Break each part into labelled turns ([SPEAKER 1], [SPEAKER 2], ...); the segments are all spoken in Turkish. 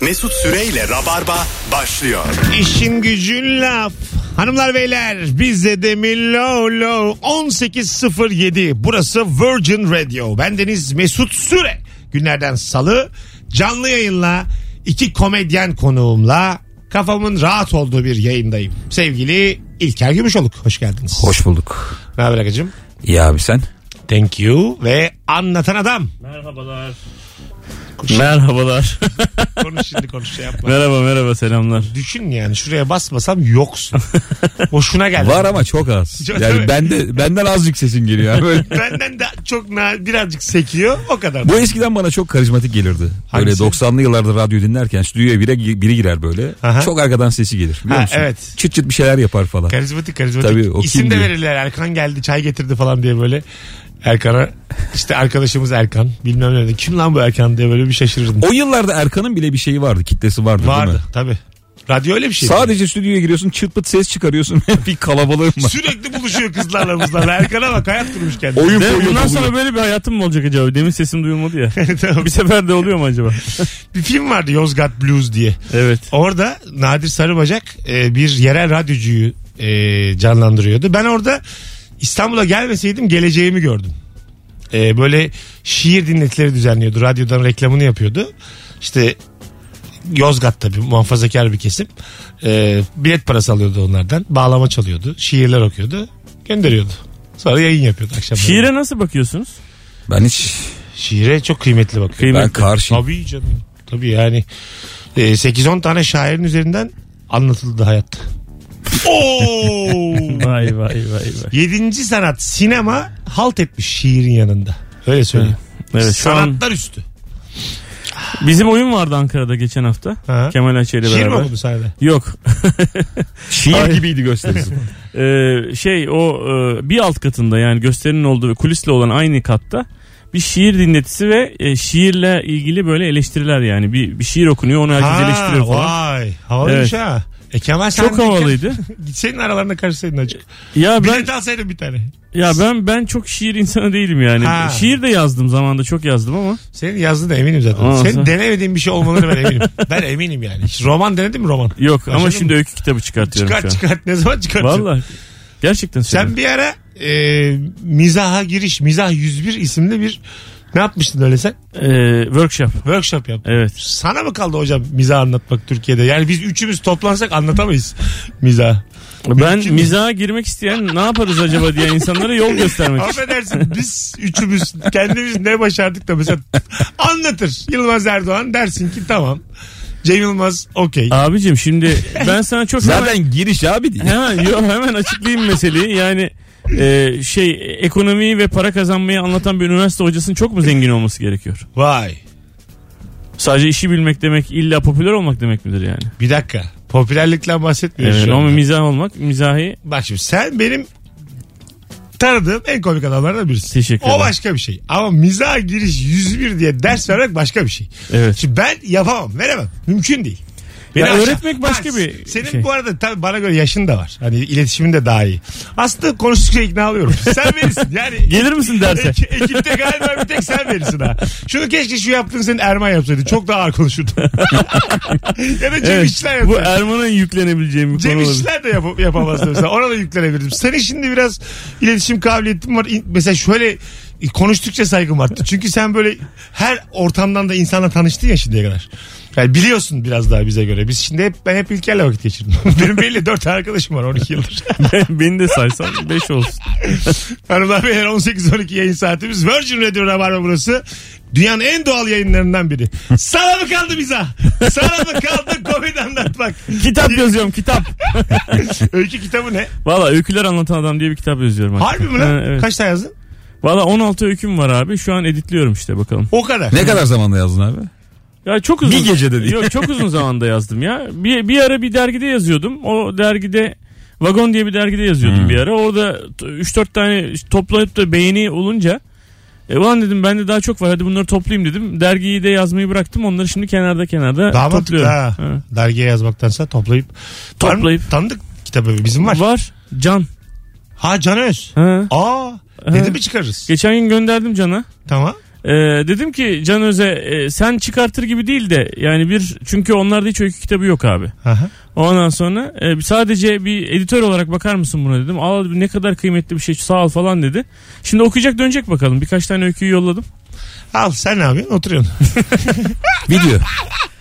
[SPEAKER 1] Mesut Süreyle Rabarba başlıyor.
[SPEAKER 2] İşin gücün laf. Hanımlar beyler bizde de Milolo 18.07 burası Virgin Radio. Bendeniz Mesut Süre. Günlerden salı canlı yayınla iki komedyen konuğumla kafamın rahat olduğu bir yayındayım. Sevgili İlker Gümüşoluk hoş geldiniz.
[SPEAKER 3] Hoş bulduk.
[SPEAKER 2] Ne haber Agacığım?
[SPEAKER 3] İyi abi sen?
[SPEAKER 2] Thank you ve anlatan adam.
[SPEAKER 4] Merhabalar. Merhabalar.
[SPEAKER 2] Konuş şimdi konuş şey yapma.
[SPEAKER 4] merhaba merhaba selamlar.
[SPEAKER 2] Düşün yani şuraya basmasam yoksun. Hoşuna geldi.
[SPEAKER 3] Var ama çok az.
[SPEAKER 2] Çok tabii.
[SPEAKER 3] Yani bende benden azıcık sesin geliyor. Yani böyle-
[SPEAKER 2] Benden de çok na- birazcık sekiyor o kadar.
[SPEAKER 3] Bu eskiden bana çok karizmatik gelirdi. Böyle
[SPEAKER 2] Hangisi?
[SPEAKER 3] 90'lı yıllarda radyo dinlerken stüdyoya biri, biri girer böyle.
[SPEAKER 2] Aha.
[SPEAKER 3] Çok arkadan sesi gelir biliyor
[SPEAKER 2] Ha,
[SPEAKER 3] musun?
[SPEAKER 2] evet.
[SPEAKER 3] Çıt çıt bir şeyler yapar falan.
[SPEAKER 2] Karizmatik karizmatik.
[SPEAKER 3] Tabii, o
[SPEAKER 2] İsim
[SPEAKER 3] kim
[SPEAKER 2] de
[SPEAKER 3] diye.
[SPEAKER 2] verirler. Erkan geldi çay getirdi falan diye böyle. Erkan'a işte arkadaşımız Erkan bilmem ne dedi. Kim lan bu Erkan diye böyle bir şaşırırdım.
[SPEAKER 3] O yıllarda Erkan'ın bile bir şeyi vardı. Kitlesi vardı, değil
[SPEAKER 2] Vardı
[SPEAKER 3] mi?
[SPEAKER 2] tabi. Radyo öyle bir şey.
[SPEAKER 3] Sadece stüdyoya giriyorsun çıt pıt ses çıkarıyorsun. bir kalabalığın var.
[SPEAKER 2] Sürekli buluşuyor kızlarla mızlarla. Erkan'a bak hayat kurmuş kendine.
[SPEAKER 3] Oyun
[SPEAKER 4] De,
[SPEAKER 3] koyuyor
[SPEAKER 4] bundan
[SPEAKER 3] koyuyor.
[SPEAKER 4] sonra böyle bir hayatım mı olacak acaba? Demin sesim duyulmadı ya.
[SPEAKER 2] Tamam.
[SPEAKER 4] bir sefer de oluyor mu acaba?
[SPEAKER 2] Bir film vardı Yozgat Blues diye.
[SPEAKER 4] evet.
[SPEAKER 2] Orada Nadir Sarıbacak e, bir yerel radyocuyu e, canlandırıyordu. Ben orada İstanbul'a gelmeseydim geleceğimi gördüm. E, böyle şiir dinletileri düzenliyordu. Radyodan reklamını yapıyordu. İşte Yozgat tabii muhafazakar bir kesim. E, bilet parası alıyordu onlardan. Bağlama çalıyordu. Şiirler okuyordu. Gönderiyordu. Sonra yayın yapıyordu akşam.
[SPEAKER 4] Şiire nasıl bakıyorsunuz?
[SPEAKER 3] Ben hiç
[SPEAKER 2] Şiire çok kıymetli bakıyor.
[SPEAKER 3] ben
[SPEAKER 4] Kıymetli.
[SPEAKER 3] karşıyım.
[SPEAKER 2] Tabii canım. Tabii yani e, 8-10 tane şairin üzerinden anlatıldı hayat. Oo!
[SPEAKER 4] vay vay vay vay.
[SPEAKER 2] Yedinci sanat sinema halt etmiş şiirin yanında. Öyle söyleyeyim.
[SPEAKER 4] Evet şu an
[SPEAKER 2] Sanatlar üstü.
[SPEAKER 4] bizim oyun vardı Ankara'da geçen hafta.
[SPEAKER 2] Ha.
[SPEAKER 4] Kemal Ayça ile
[SPEAKER 2] Şiir mi
[SPEAKER 4] beraber.
[SPEAKER 2] oldu sahnede?
[SPEAKER 4] Yok.
[SPEAKER 3] Şiir gibiydi gösterisi.
[SPEAKER 4] Ee, şey o e, bir alt katında yani gösterinin olduğu ve kulisle olan aynı katta bir şiir dinletisi ve e, şiirle ilgili böyle eleştiriler yani. Bir, bir şiir okunuyor onu herkes eleştiriyor falan.
[SPEAKER 2] Vay havalıymış
[SPEAKER 4] Evet.
[SPEAKER 2] ha. E Kemal sen
[SPEAKER 4] Çok
[SPEAKER 2] de-
[SPEAKER 4] havalıydı.
[SPEAKER 2] Gitseydin aralarına karışsaydın acık.
[SPEAKER 4] Ya ben
[SPEAKER 2] Bilet alsaydın bir tane.
[SPEAKER 4] ya ben ben çok şiir insanı değilim yani.
[SPEAKER 2] Ha.
[SPEAKER 4] Şiir de yazdım zamanında çok yazdım ama
[SPEAKER 2] Senin yazdığın da eminim zaten.
[SPEAKER 4] Aa,
[SPEAKER 2] Senin
[SPEAKER 4] sen-
[SPEAKER 2] denemediğin bir şey olmaları ben eminim. ben eminim yani. Hiç roman denedin mi roman?
[SPEAKER 4] yok ama
[SPEAKER 2] Başladın
[SPEAKER 4] şimdi öykü kitabı çıkartıyorum
[SPEAKER 2] Çıkart
[SPEAKER 4] şu an.
[SPEAKER 2] çıkart. Ne zaman çıkartacaksın?
[SPEAKER 4] Vallahi gerçekten
[SPEAKER 2] Sen
[SPEAKER 4] söylüyorum.
[SPEAKER 2] bir ara e, mizaha giriş, mizah 101 isimli bir ne yapmıştın öyle sen?
[SPEAKER 4] Ee, workshop.
[SPEAKER 2] Workshop yaptın.
[SPEAKER 4] Evet.
[SPEAKER 2] Sana mı kaldı hocam mizah anlatmak Türkiye'de? Yani biz üçümüz toplansak anlatamayız mizah.
[SPEAKER 4] Ben
[SPEAKER 2] değil.
[SPEAKER 4] mizaha girmek isteyen ne yaparız acaba diye insanlara yol göstermek için.
[SPEAKER 2] Affedersin biz üçümüz kendimiz ne başardık da mesela anlatır Yılmaz Erdoğan dersin ki tamam. Cem Yılmaz okey.
[SPEAKER 4] Abicim şimdi ben sana çok
[SPEAKER 3] Zaten giriş abi diye.
[SPEAKER 4] Hemen, yo, hemen açıklayayım meseleyi. Yani e, şey ekonomiyi ve para kazanmayı anlatan bir üniversite hocasının çok mu zengin olması gerekiyor?
[SPEAKER 2] Vay
[SPEAKER 4] Sadece işi bilmek demek illa popüler olmak demek midir yani?
[SPEAKER 2] bir dakika popülerlikten bahsetmiyoruz
[SPEAKER 4] Evet,
[SPEAKER 2] şu
[SPEAKER 4] ama
[SPEAKER 2] anda.
[SPEAKER 4] mizah olmak mizahi
[SPEAKER 2] Bak şimdi sen benim tanıdığım en komik adamlardan birisin.
[SPEAKER 4] Teşekkür
[SPEAKER 2] O
[SPEAKER 4] ederim.
[SPEAKER 2] başka bir şey. Ama mizah giriş 101 diye ders vermek başka bir şey.
[SPEAKER 4] Evet.
[SPEAKER 2] Şimdi ben yapamam, veremem. Mümkün değil.
[SPEAKER 4] Ya
[SPEAKER 2] aşağı-
[SPEAKER 4] öğretmek başka
[SPEAKER 2] Ha,
[SPEAKER 4] bir
[SPEAKER 2] Senin
[SPEAKER 4] şey.
[SPEAKER 2] bu arada tabii bana göre yaşın da var. Hani iletişimin de daha iyi. Aslında konuştukça ikna oluyorum. Sen verirsin. Yani
[SPEAKER 4] Gelir misin derse?
[SPEAKER 2] Ek- ekipte galiba bir tek sen verirsin ha. Şunu keşke şu yaptığın senin Erman yapsaydı. Çok daha ağır konuşurdu. ya da Cem
[SPEAKER 4] Evet,
[SPEAKER 2] İşler
[SPEAKER 4] bu
[SPEAKER 2] yapsaydı.
[SPEAKER 4] Erman'ın yüklenebileceğim bir
[SPEAKER 2] Cem
[SPEAKER 4] konu olabilir.
[SPEAKER 2] İşler de yap- yapamazdı mesela. Ona da yüklenebilirdim. Senin şimdi biraz iletişim kabiliyetin var. İn- Mesela şöyle e, konuştukça saygım arttı. Çünkü sen böyle her ortamdan da insanla tanıştın ya şimdiye kadar. Yani biliyorsun biraz daha bize göre. Biz şimdi hep, ben hep İlker'le vakit geçirdim. Benim belli 4 arkadaşım var 12 yıldır.
[SPEAKER 4] Beni de saysan 5 olsun.
[SPEAKER 2] Hanımlar beyler 18-12 yayın saatimiz. Virgin Radio Rabarba burası. Dünyanın en doğal yayınlarından biri. Sana mı kaldı mizah? Sana mı kaldı komedi anlatmak?
[SPEAKER 4] Kitap yazıyorum kitap.
[SPEAKER 2] Öykü kitabı ne?
[SPEAKER 4] Valla öyküler anlatan adam diye bir kitap yazıyorum.
[SPEAKER 2] Harbi mi lan?
[SPEAKER 4] Ha, evet.
[SPEAKER 2] Kaç tane yazdın?
[SPEAKER 4] Valla 16 öyküm var abi. Şu an editliyorum işte bakalım.
[SPEAKER 2] O kadar.
[SPEAKER 3] Ne kadar zamanda yazdın abi?
[SPEAKER 4] Ya çok uzun.
[SPEAKER 3] Bir gecede değil.
[SPEAKER 4] Yok çok uzun zamanda yazdım ya. Bir, bir ara bir dergide yazıyordum. O dergide Vagon diye bir dergide yazıyordum
[SPEAKER 3] Hmm.
[SPEAKER 4] bir ara. Orada 3-4 tane toplayıp da beğeni olunca e ulan dedim bende daha çok var hadi bunları toplayayım dedim. Dergiyi de yazmayı bıraktım onları şimdi kenarda kenarda
[SPEAKER 2] Daha mantıklı
[SPEAKER 4] topluyorum.
[SPEAKER 2] ha.
[SPEAKER 4] Ha.
[SPEAKER 2] Dergiye yazmaktansa toplayıp. Var mı?
[SPEAKER 4] Toplayıp.
[SPEAKER 2] Tanıdık kitabı bizim var.
[SPEAKER 4] Var. Can.
[SPEAKER 2] Ha Can Öz.
[SPEAKER 4] Ha.
[SPEAKER 2] Aa. Dedi mi çıkarırız?
[SPEAKER 4] Geçen gün gönderdim Can'a.
[SPEAKER 2] Tamam.
[SPEAKER 4] Ee, dedim ki Can Öze e, sen çıkartır gibi değil de yani bir çünkü onlarda hiç öykü kitabı yok abi.
[SPEAKER 2] Aha.
[SPEAKER 4] Ondan sonra e, sadece bir editör olarak bakar mısın buna dedim. Al ne kadar kıymetli bir şey sağ ol falan dedi. Şimdi okuyacak dönecek bakalım. Birkaç tane öyküyü yolladım.
[SPEAKER 2] Al sen ne yapıyorsun? Oturuyorsun.
[SPEAKER 3] Video.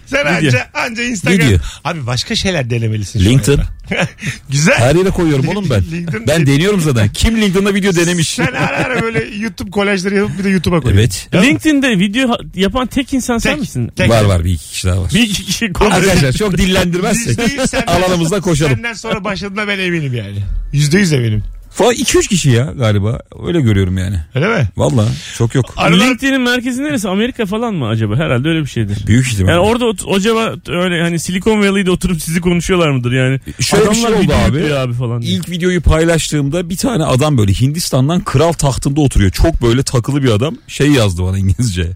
[SPEAKER 2] Sen
[SPEAKER 4] Video.
[SPEAKER 2] anca, anca Instagram.
[SPEAKER 3] Video.
[SPEAKER 2] Abi başka şeyler denemelisin. şu
[SPEAKER 3] LinkedIn.
[SPEAKER 2] anda. Güzel.
[SPEAKER 3] Her yere koyuyorum oğlum ben.
[SPEAKER 2] LinkedIn-
[SPEAKER 3] ben deniyorum zaten. Kim LinkedIn'da video denemiş?
[SPEAKER 2] Sen ara ara böyle YouTube kolajları yapıp bir de YouTube'a koy.
[SPEAKER 3] evet.
[SPEAKER 2] Değil mi?
[SPEAKER 4] LinkedIn'de video ha- yapan tek insan sen
[SPEAKER 2] Tek-
[SPEAKER 4] misin?
[SPEAKER 2] tek-
[SPEAKER 3] Var var bir iki kişi daha var.
[SPEAKER 4] Bir iki kişi
[SPEAKER 3] Arkadaşlar çok
[SPEAKER 2] Biz
[SPEAKER 3] dillendirmezsek
[SPEAKER 2] değil, senden-
[SPEAKER 3] alanımızda koşalım.
[SPEAKER 2] Senden sonra başladığına ben eminim yani. Yüzde yüz eminim.
[SPEAKER 3] Falan 2-3 kişi ya galiba. Öyle görüyorum yani.
[SPEAKER 2] Öyle mi?
[SPEAKER 3] Valla çok yok.
[SPEAKER 2] Aralar-
[SPEAKER 4] LinkedIn'in merkezi neresi? Amerika falan mı acaba? Herhalde öyle bir şeydir.
[SPEAKER 3] Büyük ihtimal.
[SPEAKER 4] Yani orada ot- acaba öyle hani Silikon Valley'de oturup sizi konuşuyorlar mıdır yani?
[SPEAKER 3] Şöyle bir şey oldu
[SPEAKER 4] video
[SPEAKER 3] abi.
[SPEAKER 4] yüklüyor abi falan. diye.
[SPEAKER 3] İlk videoyu paylaştığımda bir tane adam böyle Hindistan'dan kral tahtında oturuyor. Çok böyle takılı bir adam. Şey yazdı bana İngilizce.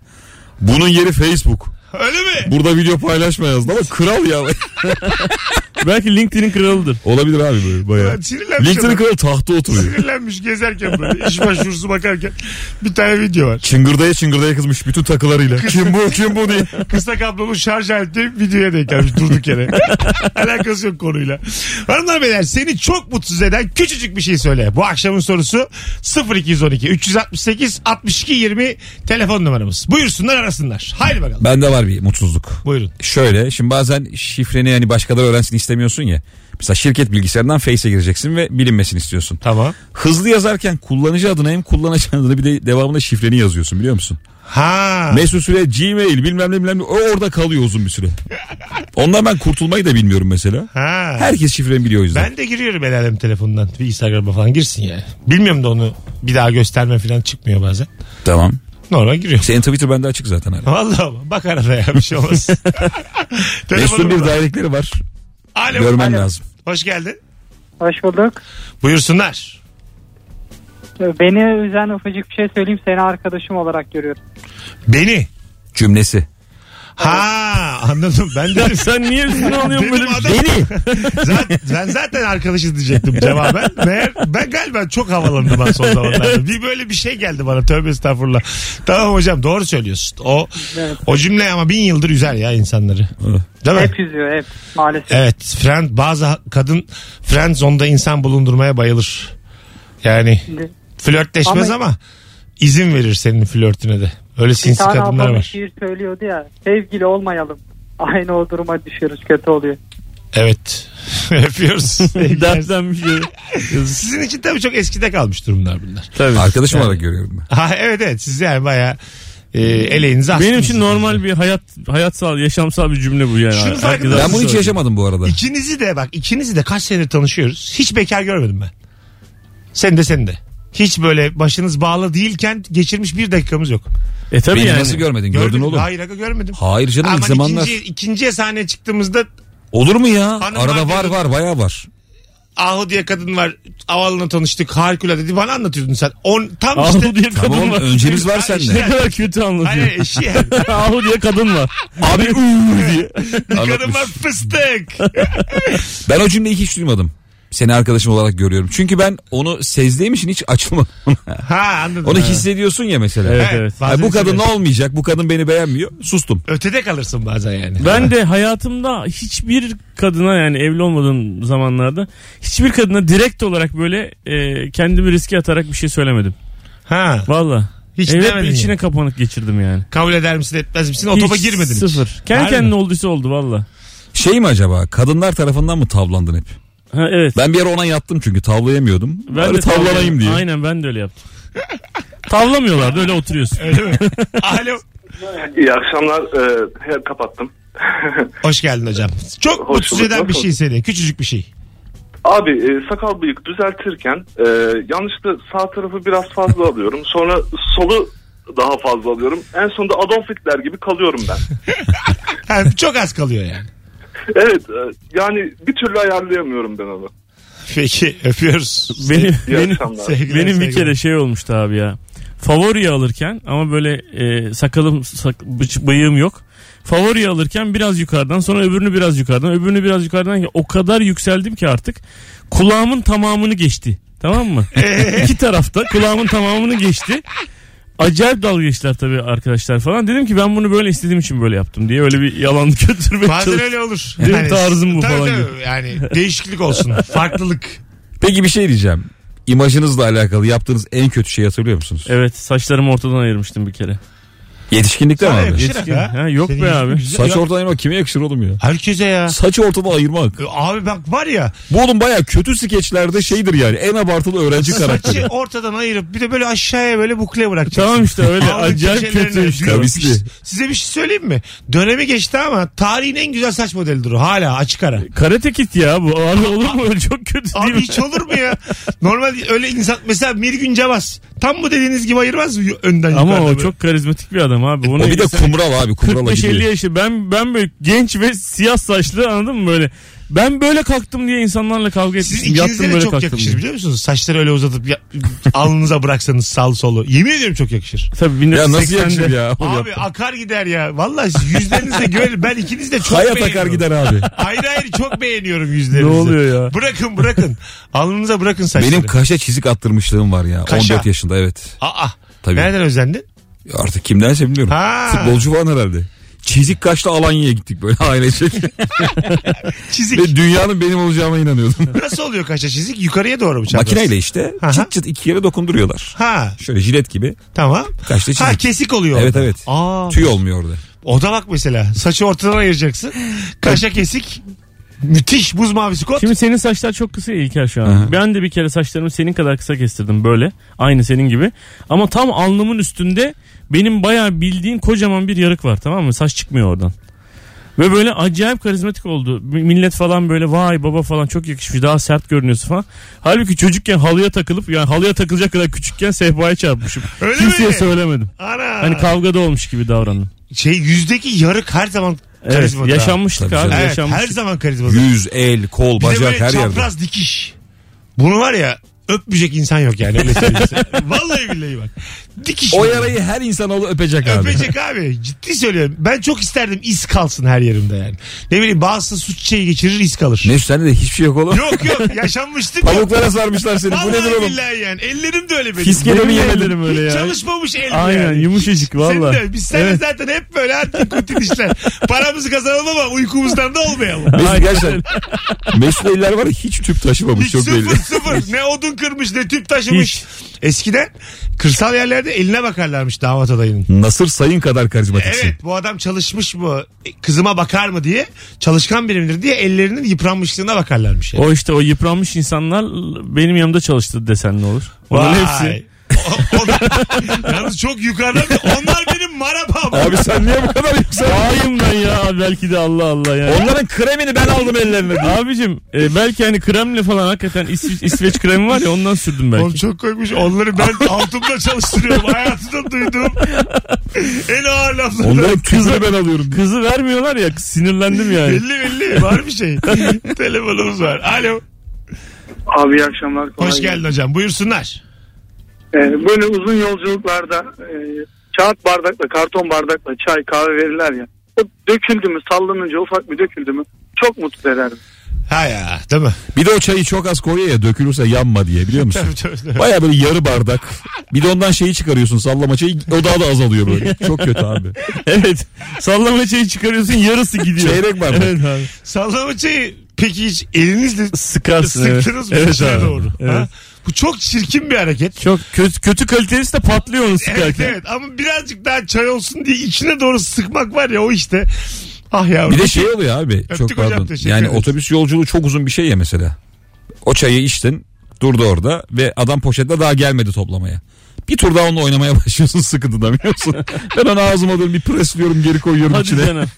[SPEAKER 3] Bunun yeri Facebook.
[SPEAKER 2] Öyle mi?
[SPEAKER 3] Burada video paylaşma yazdı ama kral ya.
[SPEAKER 4] Belki LinkedIn'in kralıdır.
[SPEAKER 3] Olabilir abi böyle bayağı.
[SPEAKER 2] Ulan sinirlenmiş
[SPEAKER 3] LinkedIn
[SPEAKER 2] adam.
[SPEAKER 3] kralı tahta oturuyor.
[SPEAKER 2] Sinirlenmiş gezerken böyle iş başvurusu bakarken bir tane video var.
[SPEAKER 3] Çıngırdaya çıngırdaya kızmış bütün takılarıyla. kim bu kim bu diye.
[SPEAKER 2] Kısa kablolu şarj aleti videoya denk gelmiş durduk yere. Alakası yok konuyla. Hanımlar beyler seni çok mutsuz eden küçücük bir şey söyle. Bu akşamın sorusu 0212 368 62 20 telefon numaramız. Buyursunlar arasınlar. Haydi bakalım.
[SPEAKER 3] Bende var bir mutsuzluk.
[SPEAKER 2] Buyurun.
[SPEAKER 3] Şöyle şimdi bazen şifreni hani başkaları öğrensin istemiyorsun ya. Mesela şirket bilgisayarından Face'e gireceksin ve bilinmesini istiyorsun.
[SPEAKER 2] Tamam.
[SPEAKER 3] Hızlı yazarken kullanıcı adını hem kullanıcı adını bir de devamında şifreni yazıyorsun biliyor musun?
[SPEAKER 2] Ha.
[SPEAKER 3] Mesut Süre Gmail bilmem ne bilmem ne o orada kalıyor uzun bir süre. Ondan ben kurtulmayı da bilmiyorum mesela.
[SPEAKER 2] ha.
[SPEAKER 3] Herkes şifremi biliyor o yüzden.
[SPEAKER 2] Ben de giriyorum el alem telefondan. Bir Instagram'a falan girsin yani. Bilmiyorum da onu bir daha gösterme falan çıkmıyor bazen.
[SPEAKER 3] Tamam.
[SPEAKER 2] Normal giriyorum.
[SPEAKER 3] Senin Twitter bende açık zaten hala.
[SPEAKER 2] Vallahi bak arada ya bir şey olmaz.
[SPEAKER 3] Mesut'un
[SPEAKER 2] Telefonum
[SPEAKER 3] bir
[SPEAKER 2] var.
[SPEAKER 3] dairekleri var.
[SPEAKER 2] Alo.
[SPEAKER 3] Görmen lazım.
[SPEAKER 2] Hoş geldin.
[SPEAKER 5] Hoş bulduk.
[SPEAKER 2] Buyursunlar.
[SPEAKER 5] Beni üzen ufacık bir şey söyleyeyim. Seni arkadaşım olarak görüyorum.
[SPEAKER 2] Beni.
[SPEAKER 3] Cümlesi.
[SPEAKER 2] Ha anladım. Ben de
[SPEAKER 4] Ya sen niye üstüne alıyorsun böyle
[SPEAKER 2] Benim
[SPEAKER 4] bir şey?
[SPEAKER 2] adam,
[SPEAKER 3] Beni.
[SPEAKER 2] zaten, ben zaten arkadaşız diyecektim cevaben. Meğer, ben galiba çok havalandım ben son zamanlarda. Bir böyle bir şey geldi bana tövbe estağfurullah. Tamam hocam doğru söylüyorsun. O
[SPEAKER 5] Evet.
[SPEAKER 2] o cümle ama bin yıldır üzer ya insanları. Değil mi?
[SPEAKER 5] Hep üzüyor hep maalesef.
[SPEAKER 2] Evet. Friend, bazı ha- kadın friend zonda insan bulundurmaya bayılır. Yani
[SPEAKER 5] Şimdi
[SPEAKER 2] flörtleşmez ama,
[SPEAKER 5] Ama-
[SPEAKER 2] izin verir senin flörtüne de. Öyle
[SPEAKER 5] bir
[SPEAKER 2] sinsi
[SPEAKER 5] tane
[SPEAKER 2] kadınlar
[SPEAKER 5] ablam bir
[SPEAKER 2] var.
[SPEAKER 5] şiir söylüyordu ya. Sevgili olmayalım. Aynı o duruma düşüyoruz kötü oluyor.
[SPEAKER 2] Evet. Öpüyoruz.
[SPEAKER 4] dertten bir şey?
[SPEAKER 2] Sizin için tabii çok eskide kalmış durumlar bunlar.
[SPEAKER 4] Tabii.
[SPEAKER 3] Arkadaşım olarak görüyorum ben.
[SPEAKER 2] Ha, evet evet siz yani baya e, eleğinizi
[SPEAKER 4] Benim
[SPEAKER 2] astınız.
[SPEAKER 4] için normal bir hayat hayatsal, yaşamsal bir cümle bu yani.
[SPEAKER 2] Şunun
[SPEAKER 4] Herkes
[SPEAKER 2] farkında-
[SPEAKER 3] Ben
[SPEAKER 4] aslında
[SPEAKER 3] bunu hiç
[SPEAKER 4] söylüyor.
[SPEAKER 3] yaşamadım bu arada.
[SPEAKER 2] İkinizi de bak ikinizi de kaç senedir tanışıyoruz. Hiç bekar görmedim ben. Sen de sen de. Hiç böyle başınız bağlı değilken geçirmiş bir dakikamız yok.
[SPEAKER 4] E tabii
[SPEAKER 3] Beni
[SPEAKER 4] yani.
[SPEAKER 3] nasıl görmedin? Gördün
[SPEAKER 2] Gördün
[SPEAKER 3] oğlum.
[SPEAKER 2] Hayır aga görmedim.
[SPEAKER 3] Hayır canım
[SPEAKER 2] Ama
[SPEAKER 3] ilk zamanlar.
[SPEAKER 2] ikinci, ikinciye sahneye çıktığımızda
[SPEAKER 3] Olur mu ya?
[SPEAKER 2] Hanım
[SPEAKER 3] Arada var
[SPEAKER 2] arkadaş-
[SPEAKER 3] var bayağı var.
[SPEAKER 2] Ahu diye kadın var. Avalına tanıştık. Harikulade dedi. Bana anlatıyordun sen. On, tam
[SPEAKER 4] Ahu
[SPEAKER 2] işte.
[SPEAKER 4] diye kadın
[SPEAKER 3] Tamam oğlum,
[SPEAKER 4] var.
[SPEAKER 3] öncemiz var
[SPEAKER 2] Hayır,
[SPEAKER 4] Ne
[SPEAKER 3] sende.
[SPEAKER 4] kadar kötü anlatıyor.
[SPEAKER 2] Hayır şey, eşi yani.
[SPEAKER 4] Ahu diye kadın var. Abi uuu diye.
[SPEAKER 2] Bir kadın
[SPEAKER 3] Anlatmış.
[SPEAKER 2] var fıstık.
[SPEAKER 3] Ben o cümleyi hiç duymadım. Seni arkadaşım olarak görüyorum. Çünkü ben onu sezdiğim için hiç açılmadım.
[SPEAKER 2] Ha anladım.
[SPEAKER 3] onu hissediyorsun ya mesela.
[SPEAKER 4] Evet, evet.
[SPEAKER 3] Ha,
[SPEAKER 2] bazen
[SPEAKER 3] bu kadın ne
[SPEAKER 2] hissediyorsun.
[SPEAKER 3] olmayacak? Bu kadın beni beğenmiyor. Sustum.
[SPEAKER 2] Ötede kalırsın bazen yani.
[SPEAKER 4] Ben de hayatımda hiçbir kadına yani evli olmadığım zamanlarda hiçbir kadına direkt olarak böyle e, kendimi riske atarak bir şey söylemedim.
[SPEAKER 2] Ha.
[SPEAKER 4] Valla.
[SPEAKER 2] Hiç
[SPEAKER 4] Evet
[SPEAKER 2] demedin
[SPEAKER 4] içine
[SPEAKER 2] yani.
[SPEAKER 4] kapanık geçirdim yani.
[SPEAKER 2] Kabul eder misin etmez misin? O topa
[SPEAKER 4] Hiç
[SPEAKER 2] girmedin hiç.
[SPEAKER 4] Sıfır. Kendi
[SPEAKER 2] Harbi mi?
[SPEAKER 4] kendine olduysa oldu valla.
[SPEAKER 3] Şey mi acaba? Kadınlar tarafından mı tavlandın hep?
[SPEAKER 4] Ha, evet.
[SPEAKER 3] Ben bir ara ona yattım çünkü tavlayamıyordum. Ben
[SPEAKER 4] de
[SPEAKER 3] tavlanayım diye.
[SPEAKER 4] Aynen ben de öyle yaptım. Tavlamıyorlardı öyle oturuyorsun.
[SPEAKER 2] Öyle mi? Alo.
[SPEAKER 6] İyi akşamlar. Ee, he, kapattım.
[SPEAKER 2] Hoş geldin hocam. Çok
[SPEAKER 6] Hoş
[SPEAKER 2] mutsuz
[SPEAKER 6] bulduk.
[SPEAKER 2] eden bir şey seni. Küçücük bir şey.
[SPEAKER 6] Abi e, sakal bıyık düzeltirken e, yanlışlıkla sağ tarafı biraz fazla alıyorum. Sonra solu daha fazla alıyorum. En sonunda Adolf Hitler gibi kalıyorum ben.
[SPEAKER 2] Yani çok az kalıyor yani.
[SPEAKER 6] Evet e, yani bir türlü ayarlayamıyorum ben onu.
[SPEAKER 2] Peki öpüyoruz.
[SPEAKER 4] Benim,
[SPEAKER 6] İyi
[SPEAKER 4] benim,
[SPEAKER 6] akşamlar.
[SPEAKER 2] Sevgiler,
[SPEAKER 4] benim bir
[SPEAKER 2] sevgiler.
[SPEAKER 4] kere şey olmuştu abi ya. Favori alırken ama böyle e, sakalım sak, bıç- bıyığım yok. Favori alırken biraz yukarıdan sonra öbürünü biraz yukarıdan öbürünü biraz yukarıdan o kadar yükseldim ki artık kulağımın tamamını geçti. Tamam mı? İki tarafta kulağımın tamamını geçti. acayip dalga geçtiler tabii arkadaşlar falan. Dedim ki ben bunu böyle istediğim için böyle yaptım diye öyle bir yalan götürmeye
[SPEAKER 2] Bazen
[SPEAKER 4] çalıştım.
[SPEAKER 2] öyle olur.
[SPEAKER 4] Benim tarzım bu
[SPEAKER 2] tabii
[SPEAKER 4] falan
[SPEAKER 2] tabii. Yani değişiklik olsun. Farklılık.
[SPEAKER 3] Peki bir şey diyeceğim. İmajınızla alakalı yaptığınız en kötü şeyi hatırlıyor musunuz?
[SPEAKER 4] Evet saçlarımı ortadan ayırmıştım bir kere.
[SPEAKER 3] Yetişkinlikte mi
[SPEAKER 2] Sana
[SPEAKER 3] abi?
[SPEAKER 2] yakışır
[SPEAKER 4] Yetişkin.
[SPEAKER 2] ha.
[SPEAKER 4] Ha, yok
[SPEAKER 2] Senin
[SPEAKER 4] be
[SPEAKER 2] yüzün
[SPEAKER 4] abi.
[SPEAKER 2] güzel.
[SPEAKER 3] Saç
[SPEAKER 2] Ya-
[SPEAKER 3] ortadan ayırmak kime yakışır oğlum ya?
[SPEAKER 2] Herkese ya. E,
[SPEAKER 3] Saçı ortadan ayırmak.
[SPEAKER 2] Abi bak var ya
[SPEAKER 3] Bu oğlum baya kötü skeçlerde şeydir yani. En abartılı öğrenci
[SPEAKER 2] saçı
[SPEAKER 3] karakteri.
[SPEAKER 2] ortadan ayırıp bir de böyle aşağıya böyle bukle bırakacaksın.
[SPEAKER 4] Tamam işte öyle
[SPEAKER 2] Alnın
[SPEAKER 4] acayip
[SPEAKER 2] köşelerine
[SPEAKER 4] kötü işte.
[SPEAKER 2] diyorum.
[SPEAKER 3] Kavisli.
[SPEAKER 2] Bir- Size bir şey söyleyeyim mi? Dönemi geçti ama tarihin en güzel saç modelidir o. Hala açık ara.
[SPEAKER 4] Karate kit ya bu. Abi olur mu öyle çok kötü değil
[SPEAKER 2] Abi
[SPEAKER 4] mi?
[SPEAKER 2] hiç olur mu ya? Normal öyle insan mesela Mirgün Cevaz. Tam bu dediğiniz gibi ayırmaz mı y- önden
[SPEAKER 4] Ama
[SPEAKER 2] yukarıda
[SPEAKER 4] o
[SPEAKER 2] böyle?
[SPEAKER 4] çok karizmatik bir adam abi. Onu
[SPEAKER 3] E, O bir de kumral abi kumrala
[SPEAKER 4] 45-50
[SPEAKER 3] gidiyor.
[SPEAKER 4] yaşı ben ben böyle genç ve siyah saçlı anladın mı böyle. Ben böyle kalktım diye insanlarla kavga
[SPEAKER 2] Siz
[SPEAKER 4] etmiştim.
[SPEAKER 2] ikinize
[SPEAKER 4] Yattım
[SPEAKER 2] de
[SPEAKER 4] böyle
[SPEAKER 2] çok
[SPEAKER 4] kalktım.
[SPEAKER 2] yakışır
[SPEAKER 4] diye.
[SPEAKER 2] biliyor musunuz? Saçları öyle uzatıp ya- alnınıza bıraksanız sağ solu. Yemin ediyorum çok yakışır.
[SPEAKER 4] Tabii
[SPEAKER 3] Ya
[SPEAKER 4] 1980'de.
[SPEAKER 3] nasıl yakışır ya?
[SPEAKER 2] Abi akar gider ya. Vallahi siz yüzlerinizde görür. Ben ikiniz de çok
[SPEAKER 3] Hayat
[SPEAKER 2] beğeniyorum.
[SPEAKER 3] akar gider abi.
[SPEAKER 2] Hayır hayır çok beğeniyorum yüzlerinizi.
[SPEAKER 4] Ne oluyor ya?
[SPEAKER 2] Bırakın bırakın. Alnınıza bırakın saçları.
[SPEAKER 3] Benim kaşa çizik attırmışlığım var ya.
[SPEAKER 2] Kaşa?
[SPEAKER 3] 14 yaşında evet.
[SPEAKER 2] Aa,
[SPEAKER 3] Tabii.
[SPEAKER 2] Nereden özendin?
[SPEAKER 3] Artık kimdense bilmiyorum.
[SPEAKER 2] Ha.
[SPEAKER 3] Futbolcu falan herhalde. Çizik kaşla Alanya'ya gittik böyle ailecek.
[SPEAKER 2] Çizik.
[SPEAKER 3] Ve dünyanın benim olacağıma inanıyordum.
[SPEAKER 2] Nasıl oluyor kaşa çizik? Yukarıya doğru mu çapraz?
[SPEAKER 3] Makineyle işte
[SPEAKER 2] Aha.
[SPEAKER 3] çıt çıt iki yere dokunduruyorlar.
[SPEAKER 2] Ha
[SPEAKER 3] Şöyle jilet gibi.
[SPEAKER 2] tamam.
[SPEAKER 3] Kaşta çizik.
[SPEAKER 2] Ha kesik oluyor.
[SPEAKER 3] Evet
[SPEAKER 2] orada.
[SPEAKER 3] evet.
[SPEAKER 2] Aa,
[SPEAKER 3] Tüy olmuyor orada.
[SPEAKER 2] o da bak mesela. Saçı ortadan ayıracaksın. Kaşa kesik. Müthiş buz mavisi kot.
[SPEAKER 4] Şimdi senin saçlar çok kısa ya İlker şu an.
[SPEAKER 3] Aha.
[SPEAKER 4] Ben de bir kere saçlarımı senin kadar kısa kestirdim böyle. Aynı senin gibi. Ama tam alnımın üstünde benim bayağı bildiğin kocaman bir yarık var tamam mı? Saç çıkmıyor oradan. Ve böyle acayip karizmatik oldu. M- Millet falan böyle vay baba falan çok yakışmış daha sert görünüyorsun falan. Halbuki çocukken halıya takılıp yani halıya takılacak kadar küçükken sehpaya çarpmışım.
[SPEAKER 2] Öyle
[SPEAKER 4] Kimseye
[SPEAKER 2] mi?
[SPEAKER 4] söylemedim.
[SPEAKER 2] Ana.
[SPEAKER 4] Hani kavgada olmuş gibi davrandım.
[SPEAKER 2] şey yüzdeki yarık her zaman
[SPEAKER 4] Evet
[SPEAKER 2] karizmadır. ha.
[SPEAKER 4] yaşanmışlık
[SPEAKER 3] Tabii
[SPEAKER 4] abi
[SPEAKER 3] canım.
[SPEAKER 2] Evet, her
[SPEAKER 4] yaşanmışlık.
[SPEAKER 2] zaman karizmadır.
[SPEAKER 3] Yüz, el, kol,
[SPEAKER 2] Bir de
[SPEAKER 3] bacak
[SPEAKER 2] böyle
[SPEAKER 3] her yerde.
[SPEAKER 2] çapraz dikiş. Bunu var ya öpmeyecek insan yok yani öyle söyleyeyim size. Vallahi billahi bak. Dikiş.
[SPEAKER 3] O
[SPEAKER 2] bu.
[SPEAKER 3] yarayı her insanoğlu öpecek abi.
[SPEAKER 2] Öpecek abi. Ciddi söylüyorum. Ben çok isterdim iz kalsın her yerimde yani. Ne bileyim bazısı suç şeyi geçirir iz kalır.
[SPEAKER 3] Ne sende de hiçbir şey yok oğlum.
[SPEAKER 2] Yok yok yaşanmıştım.
[SPEAKER 3] Pamuklara sarmışlar seni. Bu nedir
[SPEAKER 2] Vallahi
[SPEAKER 3] oğlum?
[SPEAKER 2] billahi yani. Ellerim de öyle benim.
[SPEAKER 3] Fiskeli
[SPEAKER 4] Yemin
[SPEAKER 3] mi yemedin?
[SPEAKER 4] ederim öyle
[SPEAKER 2] Hiç
[SPEAKER 4] ya.
[SPEAKER 2] çalışmamış elim
[SPEAKER 4] Aynen,
[SPEAKER 2] yani.
[SPEAKER 4] yumuşacık
[SPEAKER 2] Hiç.
[SPEAKER 4] valla.
[SPEAKER 2] Senin de, biz seninle
[SPEAKER 4] Evet.
[SPEAKER 2] zaten hep böyle antikutin işler. Paramızı kazanalım ama uykumuzdan da olmayalım.
[SPEAKER 3] Mesut gerçekten. Mesut eller var ya hiç tüp taşımamış
[SPEAKER 2] Hiç
[SPEAKER 3] çok belli.
[SPEAKER 2] sıfır sıfır. Ne odun kırmış ne tüp taşımış. Eskiden kırsal yerlerde eline bakarlarmış damat adayının.
[SPEAKER 3] Nasır Sayın kadar karizmatiksin.
[SPEAKER 2] Evet bu adam çalışmış mı kızıma bakar mı diye çalışkan birimdir diye ellerinin yıpranmışlığına bakarlarmış. Yani.
[SPEAKER 4] O işte o yıpranmış insanlar benim yanımda çalıştı desen ne olur? Onların hepsi.
[SPEAKER 2] O- o- yalnız çok yukarıda onlar benim marapam.
[SPEAKER 3] Abi sen niye bu kadar yükseldin?
[SPEAKER 4] Ayım ben ya belki de Allah Allah ya.
[SPEAKER 3] Onların kremini ben aldım ellerine.
[SPEAKER 4] Abicim e, belki hani kremle falan hakikaten İsveç, İsveç kremi var ya ondan sürdüm
[SPEAKER 2] Oğlum
[SPEAKER 4] belki.
[SPEAKER 2] çok koymuş. Onları ben altımda çalıştırıyorum. Hayatımda duyduğum en ağır laflardan.
[SPEAKER 3] Onların tüzünü ben alıyorum.
[SPEAKER 4] Kızı vermiyorlar ya sinirlendim yani.
[SPEAKER 2] Belli belli var bir şey. Telefonumuz var. Alo.
[SPEAKER 5] Abi iyi akşamlar. kolay
[SPEAKER 2] Hoş
[SPEAKER 5] gelsin.
[SPEAKER 2] geldin hocam. Buyursunlar.
[SPEAKER 5] Ee, böyle uzun yolculuklarda e, kağıt bardakla, karton bardakla çay, kahve verirler ya. O döküldü mü, sallanınca ufak bir döküldü mü çok mutlu ederim.
[SPEAKER 2] Ha ya değil mi?
[SPEAKER 3] Bir de o çayı çok az koyuyor ya dökülürse yanma diye biliyor musun?
[SPEAKER 2] Tabii, tabii, tabii.
[SPEAKER 3] Baya böyle yarı bardak. Bir de ondan şeyi çıkarıyorsun sallama çayı o daha da azalıyor böyle. Çok kötü abi.
[SPEAKER 4] Evet. Sallama çayı çıkarıyorsun yarısı gidiyor.
[SPEAKER 3] Çeyrek bardak.
[SPEAKER 4] Evet abi.
[SPEAKER 2] Sallama çayı peki hiç elinizle
[SPEAKER 4] Sıkarsın.
[SPEAKER 2] sıktınız mı
[SPEAKER 4] evet.
[SPEAKER 2] dışarı
[SPEAKER 4] abi.
[SPEAKER 2] doğru? Ha?
[SPEAKER 4] Evet.
[SPEAKER 2] Bu çok çirkin bir hareket.
[SPEAKER 4] Çok kötü, kötü kalitesi de patlıyor onu sıkarken.
[SPEAKER 2] Evet, evet ama birazcık daha çay olsun diye içine doğru sıkmak var ya o işte. Ah yavrum.
[SPEAKER 3] Bir de şey oluyor abi çok
[SPEAKER 2] hocam,
[SPEAKER 3] pardon.
[SPEAKER 2] teşekkür
[SPEAKER 3] Yani
[SPEAKER 2] ederiz.
[SPEAKER 3] otobüs yolculuğu çok uzun bir şey ya mesela. O çayı içtin durdu orada ve adam poşetle daha gelmedi toplamaya. Bir tur daha onunla oynamaya başlıyorsun sıkıntıdan biliyorsun. ben onu ağzıma alıyorum bir presliyorum geri koyuyorum
[SPEAKER 4] Hadi
[SPEAKER 3] içine.
[SPEAKER 4] canım.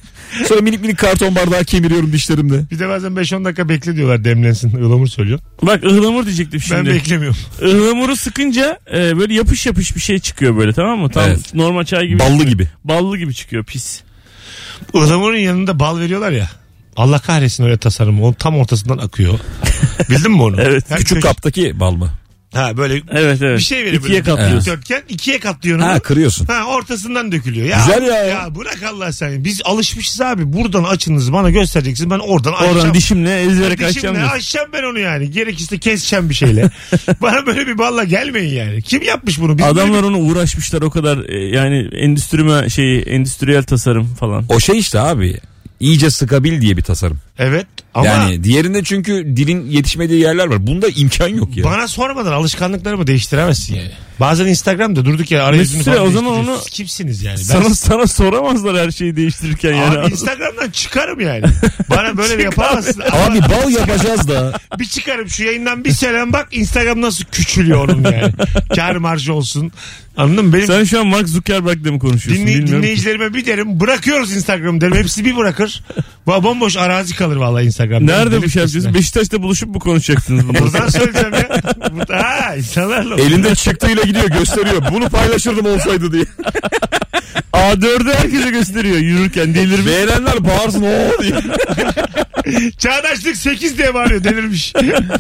[SPEAKER 3] Sonra minik minik karton bardağı kemiriyorum dişlerimle.
[SPEAKER 2] Bir de bazen 5-10 dakika bekle diyorlar demlensin. Ilamur söylüyor.
[SPEAKER 4] Bak ıhlamur diyecektim şimdi.
[SPEAKER 2] Ben beklemiyorum.
[SPEAKER 4] Ihlamuru sıkınca e, böyle yapış yapış bir şey çıkıyor böyle tamam mı? Tam
[SPEAKER 3] Evet.
[SPEAKER 4] normal çay gibi.
[SPEAKER 3] Ballı gibi.
[SPEAKER 4] Ballı gibi çıkıyor pis.
[SPEAKER 2] Ilamurun yanında bal veriyorlar ya. Allah kahretsin öyle tasarım. O tam ortasından akıyor. Bildin mi onu?
[SPEAKER 4] Evet.
[SPEAKER 2] Her
[SPEAKER 3] Küçük
[SPEAKER 2] köşe-
[SPEAKER 3] kaptaki bal mı?
[SPEAKER 2] Ha böyle
[SPEAKER 4] Evet evet.
[SPEAKER 2] bir şey veriyor.
[SPEAKER 4] İkiye
[SPEAKER 2] böyle
[SPEAKER 4] katlıyorsun.
[SPEAKER 2] Dörtgen ikiye katlıyorsun. onu.
[SPEAKER 3] Ha
[SPEAKER 2] Ha,
[SPEAKER 3] kırıyorsun.
[SPEAKER 2] ortasından dökülüyor. Ya,
[SPEAKER 3] Güzel ya.
[SPEAKER 2] bırak Allah seni. Biz alışmışız abi. Buradan açınız bana göstereceksin. Ben oradan açacağım.
[SPEAKER 4] Oradan dişimle ezerek
[SPEAKER 2] Dişimle
[SPEAKER 4] açacağım. diyorsun.
[SPEAKER 2] açacağım ben onu yani. Gerekirse keseceğim bir şeyle. Bana böyle bir balla gelmeyin yani. Kim yapmış bunu? Biz
[SPEAKER 4] Adamlar onu uğraşmışlar o kadar e, yani endüstrime şeyi endüstriyel tasarım falan.
[SPEAKER 3] O şey işte abi. İyice sıkabil diye bir tasarım.
[SPEAKER 2] böyle- Evet ama
[SPEAKER 3] Yani diğerinde çünkü dilin yetişmediği yerler var. Bunda imkan yok ya.
[SPEAKER 2] bana sormadan alışkanlıklarımı değiştiremezsin yani. Bazen Instagram'da durduk ya arayüzünü
[SPEAKER 4] Mesut Süre,
[SPEAKER 2] falan
[SPEAKER 4] o zaman
[SPEAKER 2] değiştiriyorsun.
[SPEAKER 4] onu-
[SPEAKER 2] Siz kimsiniz yani? Ben
[SPEAKER 4] Sana sana soramazlar her şeyi değiştirirken yani.
[SPEAKER 2] Abi Instagram'dan çıkarım yani. Bana böyle bir yapamazsın.
[SPEAKER 3] Abi bal yapacağız da.
[SPEAKER 2] Bir çıkarım şu yayından bir selam bak Instagram nasıl küçülüyor onun yani. Kar marjı olsun. Anladın mı? Benim
[SPEAKER 4] Sen şu an Mark Zuckerberg'le mi konuşuyorsun?
[SPEAKER 2] dinley-
[SPEAKER 4] Bilmiyorum.
[SPEAKER 2] dinleyicilerime bir derim bırakıyoruz Instagram'ı derim. Hepsi bir bırakır. Bu Bomboş arazi kalır vallahi Instagram'da.
[SPEAKER 4] Nerede bu
[SPEAKER 2] Delik
[SPEAKER 4] şey
[SPEAKER 2] deşikler.
[SPEAKER 4] yapacağız? Beşiktaş'ta buluşup mu konuşacaksınız? bunu?
[SPEAKER 2] Buradan söyleyeceğim ya. Burada, ha insanlarla.
[SPEAKER 3] Elinde çıktığıyla gidiyor gösteriyor. Bunu paylaşırdım olsaydı diye.
[SPEAKER 4] A4'ü herkese gösteriyor yürürken delirmiş.
[SPEAKER 3] Beğenenler bağırsın o diye.
[SPEAKER 4] E-
[SPEAKER 2] Çağdaşlık 8 diye bağırıyor denirmiş.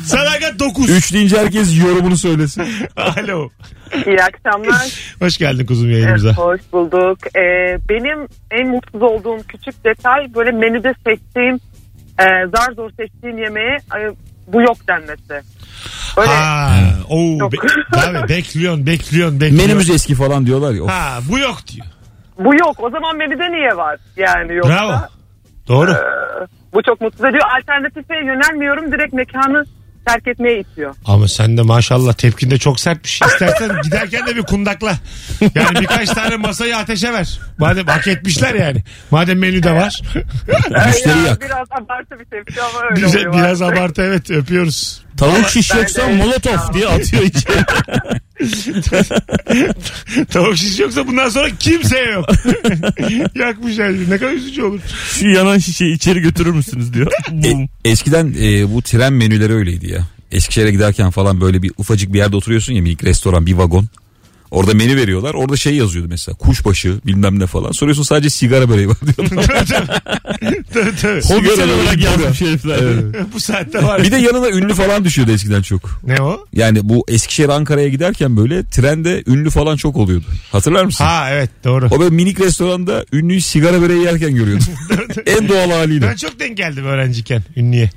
[SPEAKER 2] Sadakat 9.
[SPEAKER 3] Üç deyince herkes yorumunu söylesin.
[SPEAKER 2] Alo.
[SPEAKER 7] İyi akşamlar.
[SPEAKER 2] Hoş geldin kuzum
[SPEAKER 7] Evet,
[SPEAKER 2] yayınımıza.
[SPEAKER 7] hoş bulduk. Ee, benim en mutsuz olduğum küçük detay böyle menüde seçtiğim e, zar zor seçtiğim yemeğe ay, bu yok denmesi. Böyle
[SPEAKER 2] Ha, oo,
[SPEAKER 7] Yok.
[SPEAKER 2] be, abi bekliyorsun, bekliyorsun, bekliyorsun.
[SPEAKER 3] Menümüz eski falan diyorlar ya. Of.
[SPEAKER 2] Ha, bu yok diyor.
[SPEAKER 7] bu yok. O zaman menüde niye var? Yani yoksa e,
[SPEAKER 2] Bravo. Doğru.
[SPEAKER 7] bu çok mutsuz ediyor. Alternatife yönelmiyorum. Direkt mekanı terk etmeye itiyor.
[SPEAKER 2] Ama sen de maşallah tepkinde çok sertmiş. İstersen giderken de bir kundakla. Yani birkaç tane masayı ateşe ver. Madem hak etmişler yani. Madem menüde var.
[SPEAKER 3] Müşteri
[SPEAKER 7] Ya,
[SPEAKER 3] yak.
[SPEAKER 7] Biraz abartı bir tepki ama öyle
[SPEAKER 2] Bize
[SPEAKER 7] oluyor.
[SPEAKER 2] biraz
[SPEAKER 7] artık.
[SPEAKER 2] abartı evet öpüyoruz.
[SPEAKER 4] Tavuk şiş
[SPEAKER 7] Ben
[SPEAKER 4] yoksa
[SPEAKER 7] de-
[SPEAKER 4] molotof diye atıyor içeri.
[SPEAKER 2] Tavuk şiş yoksa bundan sonra kimseye yok. Yakmış her şeyi. Ne kadar üzücü olur.
[SPEAKER 4] Şu yanan şişeyi içeri götürür müsünüz diyor. Bum.
[SPEAKER 2] Hmm.
[SPEAKER 3] E- eskiden e, bu tren menüleri öyleydi ya. Eskişehir'e giderken falan böyle bir ufacık bir yerde oturuyorsun ya minik restoran bir vagon. Orada menü veriyorlar. Orada şey yazıyordu mesela kuşbaşı bilmem ne falan. Soruyorsun sadece sigara böreği var diyor.
[SPEAKER 2] tabii tabii. tabii, tabii.
[SPEAKER 4] Hobitel
[SPEAKER 3] Sigara
[SPEAKER 4] olarak
[SPEAKER 3] böyle
[SPEAKER 4] yazmış herifler.
[SPEAKER 2] Bu saatte var.
[SPEAKER 3] bir de yanına ünlü falan düşüyordu eskiden çok.
[SPEAKER 2] Ne o?
[SPEAKER 3] Yani bu Eskişehir Ankara'ya giderken böyle trende ünlü falan çok oluyordu. Hatırlar mısın?
[SPEAKER 2] Ha evet doğru.
[SPEAKER 3] O böyle minik restoranda ünlüyü sigara böreği yerken görüyordum. en doğal haliyle.
[SPEAKER 2] Ben çok denk geldim öğrenciyken ünlüye.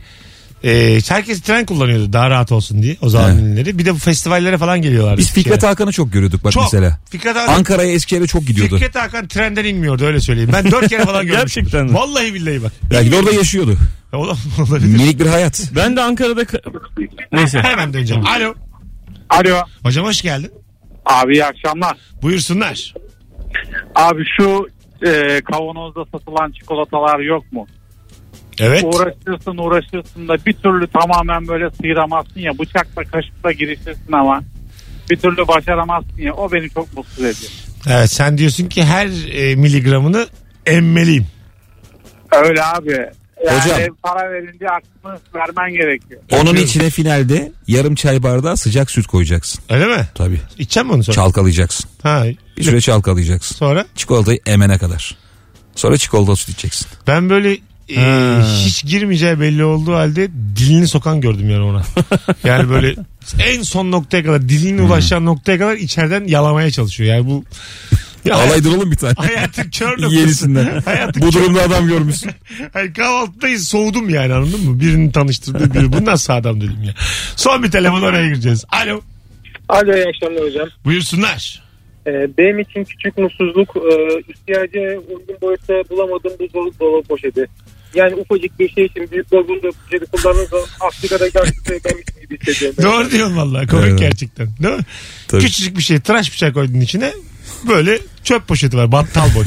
[SPEAKER 2] Ee, herkes tren kullanıyordu daha rahat olsun diye o zaman
[SPEAKER 3] Evet.
[SPEAKER 2] ünlüleri. Bir de bu festivallere falan geliyorlardı.
[SPEAKER 3] Biz Fikret
[SPEAKER 2] Eskişehir'e.
[SPEAKER 3] Hakan'ı çok görüyorduk bak
[SPEAKER 2] şey- Çok.
[SPEAKER 3] mesela.
[SPEAKER 2] Fikret Hakan,
[SPEAKER 3] Ankara'ya Eskişehir'e çok gidiyordu.
[SPEAKER 2] Fikret Hakan trenden inmiyordu öyle söyleyeyim. Ben dört kere falan görmüşüm.
[SPEAKER 4] Gerçekten mi?
[SPEAKER 2] Vallahi billahi bak.
[SPEAKER 3] Belki de orada yaşıyordu.
[SPEAKER 2] Oğlum olabilir.
[SPEAKER 3] Minik bir hayat.
[SPEAKER 4] Ben de Ankara'da... ka- Neyse.
[SPEAKER 2] Hemen döneceğim. Alo.
[SPEAKER 5] Alo.
[SPEAKER 2] Hocam hoş geldin.
[SPEAKER 5] Abi iyi akşamlar.
[SPEAKER 2] Buyursunlar.
[SPEAKER 5] Abi şu e, kavanozda satılan çikolatalar yok mu?
[SPEAKER 2] Evet.
[SPEAKER 5] Uğraşırsın uğraşırsın da bir türlü tamamen böyle sıyıramazsın ya bıçakla kaşıkla girişirsin ama bir türlü başaramazsın ya o beni çok mutsuz ediyor.
[SPEAKER 2] Evet sen diyorsun ki her e, miligramını emmeliyim.
[SPEAKER 5] Öyle abi. Yani
[SPEAKER 3] Hocam.
[SPEAKER 5] para verince aklını vermen gerekiyor.
[SPEAKER 3] Onun
[SPEAKER 2] Öpüyorum.
[SPEAKER 3] içine finalde yarım çay bardağı sıcak süt koyacaksın.
[SPEAKER 2] Öyle mi?
[SPEAKER 3] Tabii.
[SPEAKER 2] İçeceğim mi onu sonra?
[SPEAKER 3] Çalkalayacaksın.
[SPEAKER 2] Ha,
[SPEAKER 3] Bir süre çalkalayacaksın.
[SPEAKER 2] sonra?
[SPEAKER 3] Çikolatayı emene kadar. Sonra çikolata süt içeceksin.
[SPEAKER 2] Ben böyle e,
[SPEAKER 4] Ha.
[SPEAKER 2] hiç girmeyeceği belli olduğu halde dilini sokan gördüm yani ona. Yani böyle en son noktaya kadar
[SPEAKER 3] Hmm.
[SPEAKER 2] dilinin ulaşan noktaya kadar içeriden yalamaya çalışıyor. Yani bu ya hayat-
[SPEAKER 3] Alaydın oğlum bir tane.
[SPEAKER 2] hayatın kör noktası.
[SPEAKER 3] Yenisinden.
[SPEAKER 2] Hayatın
[SPEAKER 3] Bu durumda adam görmüşsün.
[SPEAKER 2] Hayır, kahvaltıdayız soğudum yani anladın mı? Birini tanıştırdı biri. Bu nasıl adam dedim ya. Son bir telefon oraya gireceğiz. Alo.
[SPEAKER 8] Alo iyi akşamlar hocam.
[SPEAKER 2] Buyursunlar.
[SPEAKER 8] Ee, benim için küçük mutsuzluk e, ihtiyaca uygun boyutta bulamadığım buzdolabı dolabı poşeti. Yani ufacık bir şey için büyük buzdolabı poşeti kullandığım zaman Afrika'da gerçekten gelmişim gibi hissediyorum.
[SPEAKER 2] Doğru diyorsun vallahi komik
[SPEAKER 3] Evet.
[SPEAKER 2] gerçekten. Değil mi?
[SPEAKER 3] Tabii.
[SPEAKER 2] Küçücük bir şey tıraş bıçağı koydun içine. Böyle çöp poşeti var. Battal boy.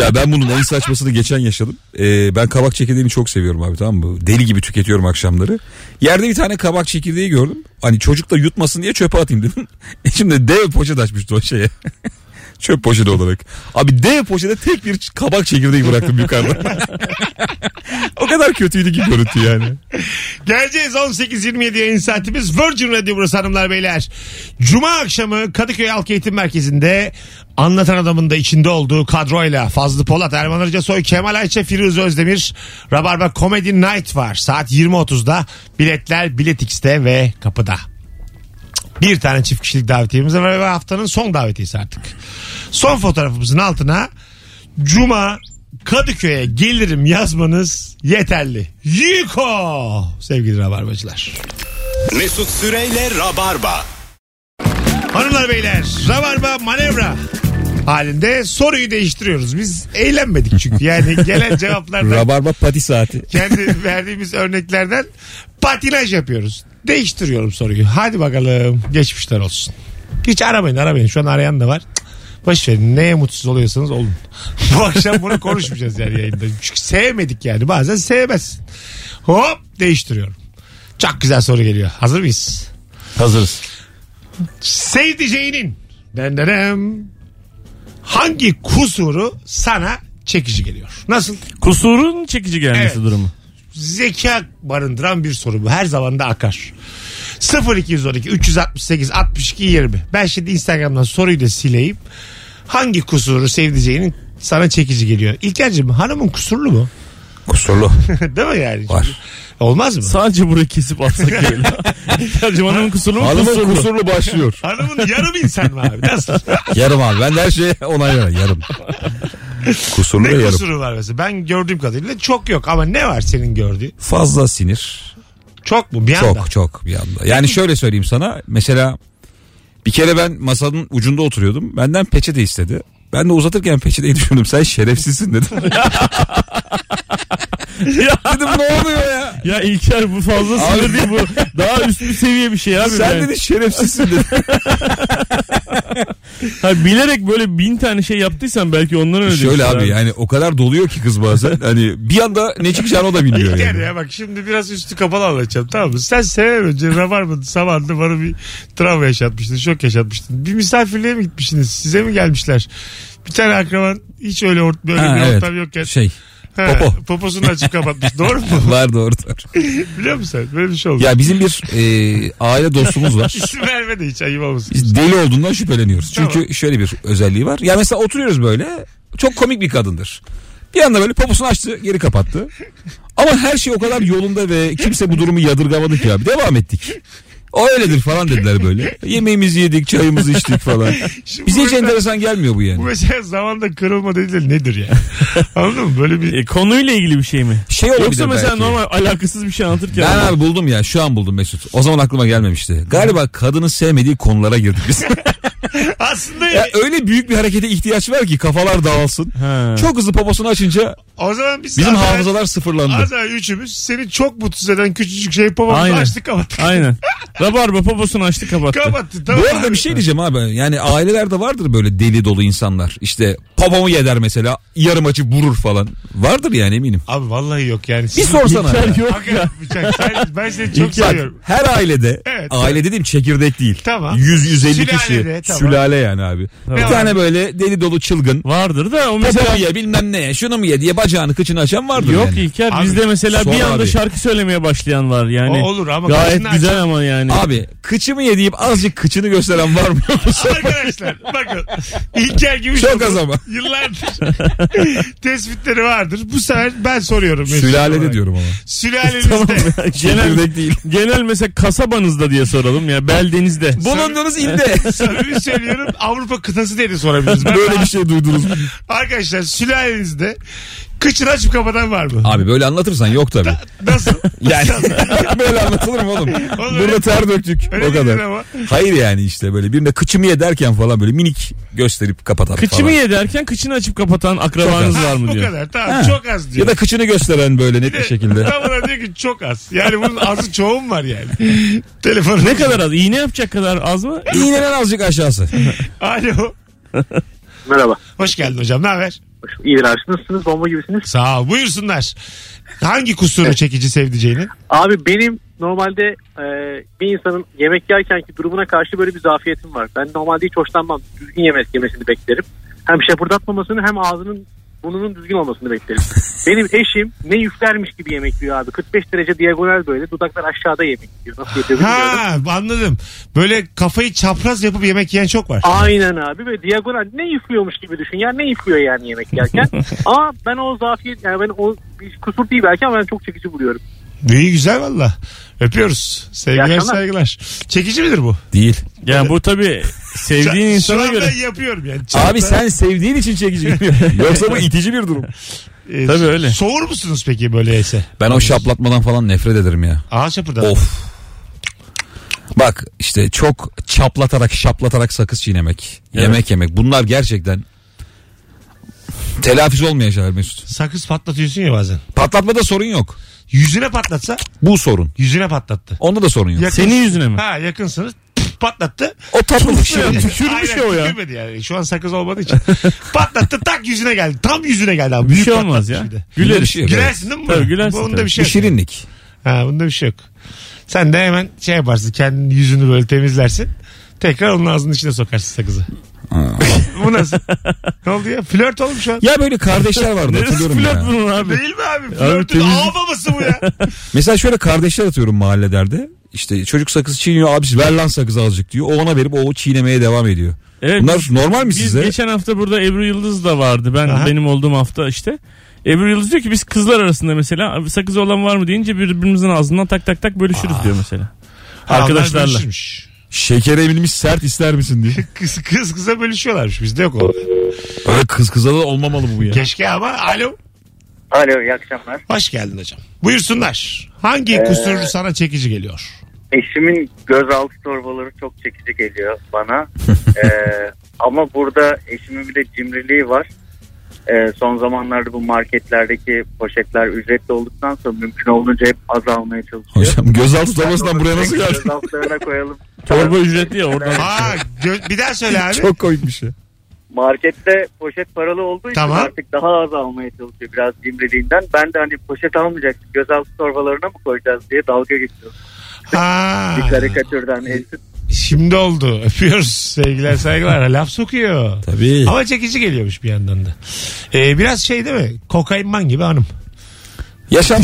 [SPEAKER 3] ya ben bunun en saçmasını geçen yaşadım. Ee, ben kabak çekirdeğini çok seviyorum abi tamam mı? Deli gibi tüketiyorum akşamları. Yerde bir tane kabak çekirdeği gördüm. Hani çocuk da yutmasın diye çöpe atayım dedim. E şimdi dev poşet açmıştı o şeye. Çöp poşeti olarak. Abi dev poşete tek bir kabak çekirdeği bıraktım yukarıda. o kadar kötüydü ki görüntü yani.
[SPEAKER 2] Geleceğiz 18.27 yayın saatimiz Virgin Radio burası hanımlar beyler. Cuma akşamı Kadıköy Halk Eğitim Merkezi'nde anlatan adamın da içinde olduğu kadroyla Fazlı Polat, Erman Arıca Soy, Kemal Ayça, Firuze Özdemir, Rabarba Comedy Night var. Saat 20.30'da biletler Bilet X'te ve kapıda. Bir tane çift kişilik davetiyemiz var ve haftanın son davetiyesi artık. Son fotoğrafımızın altına Cuma Kadıköy'e gelirim yazmanız yeterli. Yuko sevgili rabarbacılar.
[SPEAKER 1] Mesut Süreyle Rabarba.
[SPEAKER 2] Hanımlar beyler Rabarba manevra halinde soruyu değiştiriyoruz. Biz eğlenmedik çünkü yani gelen cevaplardan
[SPEAKER 3] Rabarba pati saati.
[SPEAKER 2] kendi verdiğimiz örneklerden patinaj yapıyoruz. Değiştiriyorum soruyu. Hadi bakalım geçmişler olsun. Hiç aramayın aramayın şu an arayan da var. Cık, Boş verin neye mutsuz oluyorsanız olun. Bu akşam bunu konuşmayacağız yani yayında. Çünkü sevmedik yani bazen sevmezsin. Hop değiştiriyorum. Çok güzel soru geliyor. Hazır mıyız?
[SPEAKER 9] Hazırız.
[SPEAKER 2] sevdiceğinin dendenem hangi kusuru sana çekici geliyor? Nasıl?
[SPEAKER 4] Kusurun çekici gelmesi
[SPEAKER 2] Evet.
[SPEAKER 4] durumu.
[SPEAKER 2] Zeka barındıran bir soru bu. Her zaman da akar. 0212 368 62 20. Ben şimdi Instagram'dan soruyu da sileyim. Hangi kusuru sevdiceğinin sana çekici geliyor? İlker'cim hanımın kusurlu mu?
[SPEAKER 3] Kusurlu.
[SPEAKER 2] Değil mi yani?
[SPEAKER 3] Var.
[SPEAKER 2] Olmaz mı?
[SPEAKER 4] Sadece burayı kesip atsak böyle. İlker'cim hanımın kusuru mu?
[SPEAKER 3] Hanımın
[SPEAKER 4] Kusurlu.
[SPEAKER 3] kusurlu başlıyor.
[SPEAKER 2] Hanımın yarım insan mı abi? Nasıl?
[SPEAKER 3] yarım abi. Ben de her şeye onay veriyorum. Yarım. Kusurlu ve
[SPEAKER 2] ne
[SPEAKER 3] yarım.
[SPEAKER 2] kusuru var mesela? Ben gördüğüm kadarıyla çok yok ama ne var senin gördüğün?
[SPEAKER 3] Fazla sinir.
[SPEAKER 2] Çok mu? Bir anda.
[SPEAKER 3] Çok çok bir anda. Yani şöyle söyleyeyim sana. Mesela bir kere ben masanın ucunda oturuyordum. Benden peçete istedi. Ben de uzatırken peçeteyi düşündüm. Sen şerefsizsin dedim.
[SPEAKER 4] Ya,
[SPEAKER 3] dedim ne oluyor ya?
[SPEAKER 4] ya İlker bu fazla
[SPEAKER 3] Abi-
[SPEAKER 4] sinir değil bu. Daha üst bir seviye bir şey abi.
[SPEAKER 3] Sen
[SPEAKER 4] yani.
[SPEAKER 3] dedi şerefsizsin dedi.
[SPEAKER 4] Ha, bilerek böyle bin tane şey yaptıysan belki ondan öyle
[SPEAKER 3] Şöyle
[SPEAKER 4] diyorsun
[SPEAKER 3] abi yani o kadar doluyor ki kız bazen. Hani bir anda ne çıkacağını o da bilmiyor
[SPEAKER 2] İlker
[SPEAKER 3] yani.
[SPEAKER 2] ya bak şimdi biraz üstü kapalı anlatacağım tamam mı? Sen sevemeyince Rabarba'nın sabahında bana bir travma yaşatmıştın, şok yaşatmıştın. Bir misafirliğe mi gitmişsiniz? Size mi gelmişler? Bir tane akraban hiç öyle ort böyle
[SPEAKER 3] Ha,
[SPEAKER 2] bir
[SPEAKER 3] evet.
[SPEAKER 2] ortam yokken
[SPEAKER 3] Şey
[SPEAKER 2] he,
[SPEAKER 3] popo.
[SPEAKER 2] poposunu açıp kapatmış. Doğru mu?
[SPEAKER 3] var doğru doğru.
[SPEAKER 2] Biliyor musun sen? Böyle bir şey oldu.
[SPEAKER 3] Ya bizim bir e, aile dostumuz var.
[SPEAKER 2] İsim verme de hiç ayıp olmasın.
[SPEAKER 3] Biz deli olduğundan şüpheleniyoruz. Çünkü
[SPEAKER 2] Tamam.
[SPEAKER 3] şöyle bir özelliği var. Ya mesela oturuyoruz böyle. Çok komik bir kadındır. Bir anda böyle poposunu açtı, geri kapattı. Ama her şey o kadar yolunda ve kimse bu durumu yadırgamadı ki abi. Devam ettik. O öyledir falan dediler böyle. Yemeğimizi yedik, çayımızı içtik falan.
[SPEAKER 2] Şimdi
[SPEAKER 3] Bize
[SPEAKER 2] bu
[SPEAKER 3] hiç
[SPEAKER 2] mesela-
[SPEAKER 3] enteresan gelmiyor bu
[SPEAKER 2] Bu
[SPEAKER 3] yani.
[SPEAKER 2] mesela zamanda kırılma dediler nedir ya? Anladın mı? Böyle bir
[SPEAKER 4] E, konuyla ilgili bir şey mi?
[SPEAKER 3] Şey olabilir
[SPEAKER 4] Yoksa mesela
[SPEAKER 3] belki.
[SPEAKER 4] normal alakasız bir şey anlatırken.
[SPEAKER 3] Ben abi buldum ya şu an buldum Mesut. O zaman aklıma gelmemişti. Galiba kadının sevmediği konulara girdik biz.
[SPEAKER 2] aslında
[SPEAKER 3] E, ya öyle büyük bir harekete ihtiyaç var ki kafalar dağılsın.
[SPEAKER 4] Ha.
[SPEAKER 3] Çok hızlı poposunu açınca
[SPEAKER 2] o zaman biz
[SPEAKER 3] bizim
[SPEAKER 2] az evvel-
[SPEAKER 3] hafızalar sıfırlandı.
[SPEAKER 2] az evvel üçümüz seni çok mutsuz eden küçücük şey popomuzu
[SPEAKER 4] Aynen.
[SPEAKER 2] açtık kapattık.
[SPEAKER 4] Aynen. Rabarba poposunu açtı kapattı.
[SPEAKER 2] Kapattı tamam.
[SPEAKER 3] Bu arada bir şey diyeceğim abi. Yani ailelerde vardır böyle deli dolu insanlar. İşte babamı yeder mesela yarım açıp vurur falan. Vardır yani eminim.
[SPEAKER 2] Abi vallahi yok yani.
[SPEAKER 3] Bir
[SPEAKER 2] Siz-
[SPEAKER 3] sorsana. ya.
[SPEAKER 4] İlker yok ya.
[SPEAKER 2] Hakikaten bıçak. Sen- ben seni çok
[SPEAKER 3] Bak,
[SPEAKER 2] seviyorum.
[SPEAKER 3] her ailede
[SPEAKER 2] Evet.
[SPEAKER 3] aile dediğim çekirdek değil.
[SPEAKER 2] Tamam.
[SPEAKER 3] 100 150
[SPEAKER 2] Sülalede,
[SPEAKER 3] kişi
[SPEAKER 2] tamam.
[SPEAKER 3] sülale yani abi. Bir
[SPEAKER 2] var?
[SPEAKER 3] tane böyle deli dolu çılgın.
[SPEAKER 4] Vardır da o mesela
[SPEAKER 3] Mesela ye bilmem ne ye şunu mu ye diye bacağını kıçını açan vardır
[SPEAKER 4] Yok
[SPEAKER 3] yani.
[SPEAKER 4] İlker
[SPEAKER 2] Abi,
[SPEAKER 4] bizde mesela
[SPEAKER 3] sonra
[SPEAKER 4] bir anda
[SPEAKER 3] abi.
[SPEAKER 4] şarkı söylemeye başlayan var yani.
[SPEAKER 2] O olur ama karşına
[SPEAKER 4] Gayet güzel
[SPEAKER 2] açan-
[SPEAKER 4] ama yani.
[SPEAKER 3] Abi kıçımı ye deyip azıcık kıçını gösteren var mı?
[SPEAKER 2] Arkadaşlar bakın İlker gibi
[SPEAKER 3] Çok az ama.
[SPEAKER 2] Yıllardır tespitleri vardır. Bu sefer ben soruyorum. Mesut
[SPEAKER 3] Sülalede
[SPEAKER 2] olarak.
[SPEAKER 3] diyorum ama.
[SPEAKER 2] Sülalenizde.
[SPEAKER 4] Tamam ya, genel,
[SPEAKER 3] Çekirdek değil.
[SPEAKER 4] genel mesela kasabanızda diye soralım ya beldenizde.
[SPEAKER 3] Bulunduğunuz ilde.
[SPEAKER 2] Samimi söylüyorum Avrupa kıtası diye de sorabiliriz. Ben
[SPEAKER 3] Böyle bir şey duydunuz mu?
[SPEAKER 2] Arkadaşlar sülalenizde kıçını açıp kapatan var mı?
[SPEAKER 3] Abi böyle anlatırsan yok tabii.
[SPEAKER 2] Nasıl?
[SPEAKER 3] Yani böyle anlatılır mı oğlum? Burada ter döktük.
[SPEAKER 2] Öyle
[SPEAKER 3] o kadar.
[SPEAKER 2] dedin ama.
[SPEAKER 3] Hayır yani işte böyle birine kıçımı ye derken falan böyle minik gösterip kapatan
[SPEAKER 4] Kıçımı
[SPEAKER 3] falan.
[SPEAKER 4] ye derken kıçını açıp kapatan akrabanız
[SPEAKER 3] Çok
[SPEAKER 4] var mı
[SPEAKER 2] Bu
[SPEAKER 4] diyor.
[SPEAKER 2] kadar tamam
[SPEAKER 3] Ha.
[SPEAKER 2] çok az diyor.
[SPEAKER 3] Ya da kıçını gösteren böyle net bir şekilde.
[SPEAKER 2] Tam ona diyor ki çok az. Yani bunun azı çoğun var yani. Telefonu.
[SPEAKER 4] Ne kadar az? İğne yapacak kadar az mı?
[SPEAKER 3] İğnenin azıcık aşağısı.
[SPEAKER 2] Alo.
[SPEAKER 8] Merhaba.
[SPEAKER 2] Hoş geldin hocam. Ne haber?
[SPEAKER 8] İyidir abi. Nasılsınız? Bomba gibisiniz.
[SPEAKER 2] Sağ ol. Buyursunlar. Hangi kusuru çekici sevdiceğini?
[SPEAKER 8] Abi benim normalde e, bir insanın yemek yerkenki durumuna karşı böyle bir zafiyetim var. Ben normalde hiç hoşlanmam. Düzgün yemek yemesini beklerim. Hem şapırdatmamasını hem ağzının burnunun düzgün olmasını beklerim. Benim eşim ne üflermiş gibi yemek yiyor abi. 45 derece diagonal böyle dudaklar aşağıda yemek yiyor. Nasıl yapıyor bilmiyorum.
[SPEAKER 2] Ha anladım. Böyle kafayı çapraz yapıp yemek yiyen çok var.
[SPEAKER 8] Aynen abi ve diagonal ne üflüyormuş gibi düşün ya ne üflüyor yani yemek yerken. ama ben o zafiyet yani ben o bir kusur değil belki ama ben çok çekici buluyorum.
[SPEAKER 2] Büyü güzel valla. Öpüyoruz. Sevgiler
[SPEAKER 5] İyi akşamlar.
[SPEAKER 2] saygılar. Çekici midir bu?
[SPEAKER 3] Değil.
[SPEAKER 4] Yani bu tabi sevdiğin
[SPEAKER 2] Şu-
[SPEAKER 4] insana
[SPEAKER 2] şu anda
[SPEAKER 4] göre.
[SPEAKER 2] yapıyorum yani.
[SPEAKER 3] Abi sen sevdiğin için çekici. Yoksa bu itici bir durum.
[SPEAKER 2] Ee,
[SPEAKER 4] Tabii öyle.
[SPEAKER 2] Soğur musunuz peki böyleyse?
[SPEAKER 3] Ben o şaplatmadan falan nefret ederim ya.
[SPEAKER 2] Ağaç şapırdan.
[SPEAKER 3] Of. Bak işte çok çaplatarak şaplatarak sakız çiğnemek. Yemek yemek. Bunlar gerçekten telafiz olmayan şeyler Mesut.
[SPEAKER 2] Sakız patlatıyorsun ya bazen.
[SPEAKER 3] Patlatmada sorun yok.
[SPEAKER 2] Yüzüne patlatsa
[SPEAKER 3] Bu sorun.
[SPEAKER 2] yüzüne patlattı.
[SPEAKER 3] Onda da sorun yok.
[SPEAKER 2] Yakın-
[SPEAKER 4] Senin yüzüne mi?
[SPEAKER 2] Ha yakınsınız pf, patlattı.
[SPEAKER 3] O tatlılık şey.
[SPEAKER 4] Tükürmüş
[SPEAKER 2] Aynen,
[SPEAKER 4] ya o ya.
[SPEAKER 2] Tükürmedi yani. Şu an sakız olmadığı için. patlattı tak yüzüne geldi. Tam yüzüne geldi abi.
[SPEAKER 4] Bir
[SPEAKER 2] Büyük
[SPEAKER 4] şey olmaz
[SPEAKER 2] patlattı
[SPEAKER 4] ya.
[SPEAKER 2] bir de.
[SPEAKER 3] Güleriz.
[SPEAKER 4] Güleriz.
[SPEAKER 3] Şey,
[SPEAKER 2] Gülersin değil mi?
[SPEAKER 4] Tabii,
[SPEAKER 2] buna?
[SPEAKER 4] gülersin
[SPEAKER 2] Bunda
[SPEAKER 4] tabii.
[SPEAKER 2] bir şey
[SPEAKER 3] Bir
[SPEAKER 2] yok.
[SPEAKER 3] şirinlik.
[SPEAKER 2] Ha, bunda bir şey yok. Sen de hemen şey yaparsın. Kendi yüzünü böyle temizlersin. Tekrar onun ağzının içine sokarsın sakızı. Bu nasıl? ne oldu ya? Flört olmuş şu an.
[SPEAKER 3] Ya böyle kardeşler vardı
[SPEAKER 4] Neresi
[SPEAKER 3] hatırlıyorum
[SPEAKER 4] flört
[SPEAKER 3] ya.
[SPEAKER 4] bunun abi?
[SPEAKER 2] Değil mi abi? Flörtün
[SPEAKER 4] temiz-
[SPEAKER 2] ağ babası bu ya.
[SPEAKER 3] Mesela şöyle kardeşler atıyorum mahallelerde. İşte çocuk sakız çiğniyor abisi ver lan sakız azıcık diyor. O ona verip o çiğnemeye devam ediyor.
[SPEAKER 4] Evet,
[SPEAKER 3] Bunlar normal mi
[SPEAKER 4] biz
[SPEAKER 3] size?
[SPEAKER 4] geçen hafta burada Ebru Yıldız da vardı. Ben
[SPEAKER 2] Aha.
[SPEAKER 4] benim olduğum hafta işte. Ebru Yıldız diyor ki biz kızlar arasında mesela "Abi sakız olan var mı deyince birbirimizin ağzından tak tak tak bölüşürüz
[SPEAKER 2] Ah.
[SPEAKER 4] diyor mesela.
[SPEAKER 2] Onlar
[SPEAKER 4] Arkadaşlarla.
[SPEAKER 2] bölüşürmüş.
[SPEAKER 3] Şekere emilmiş sert ister misin diye.
[SPEAKER 2] Kız, kız kıza bölüşüyorlarmış. Bizde yok o.
[SPEAKER 3] Öyle kız kıza da olmamalı bu ya.
[SPEAKER 2] Keşke ama alo.
[SPEAKER 8] Alo iyi akşamlar.
[SPEAKER 2] Hoş geldin hocam. Buyursunlar. Hangi kusur sana çekici geliyor?
[SPEAKER 8] Eşimin gözaltı torbaları çok çekici geliyor bana. Ee, ama burada eşimin bir de cimriliği var. Ee, son zamanlarda bu marketlerdeki poşetler ücretli olduktan sonra mümkün olduğunca hep az almaya çalışıyor.
[SPEAKER 3] Hocam gözaltı tabasından buraya nasıl geldin?
[SPEAKER 8] Gözaltılarına koyalım.
[SPEAKER 4] Torba ücretli ya oradan.
[SPEAKER 2] Aa, gö- bir daha söyle abi.
[SPEAKER 3] Çok komik bir şey.
[SPEAKER 8] Markette poşet paralı olduğu için
[SPEAKER 2] Tamam.
[SPEAKER 8] artık daha az almaya çalışıyor biraz cimriliğinden. Ben de hani poşet almayacaktık gözaltı torbalarına mı koyacağız diye dalga geçiyorum.
[SPEAKER 2] Ha.
[SPEAKER 8] Bir karikatürden eşit.
[SPEAKER 2] Şimdi oldu. Öpüyoruz. Sevgiler saygılar. Laf sokuyor.
[SPEAKER 3] Tabii.
[SPEAKER 2] Ama çekici geliyormuş bir yandan da. Ee, biraz şey değil mi? Kokainman gibi hanım.
[SPEAKER 3] Yaşam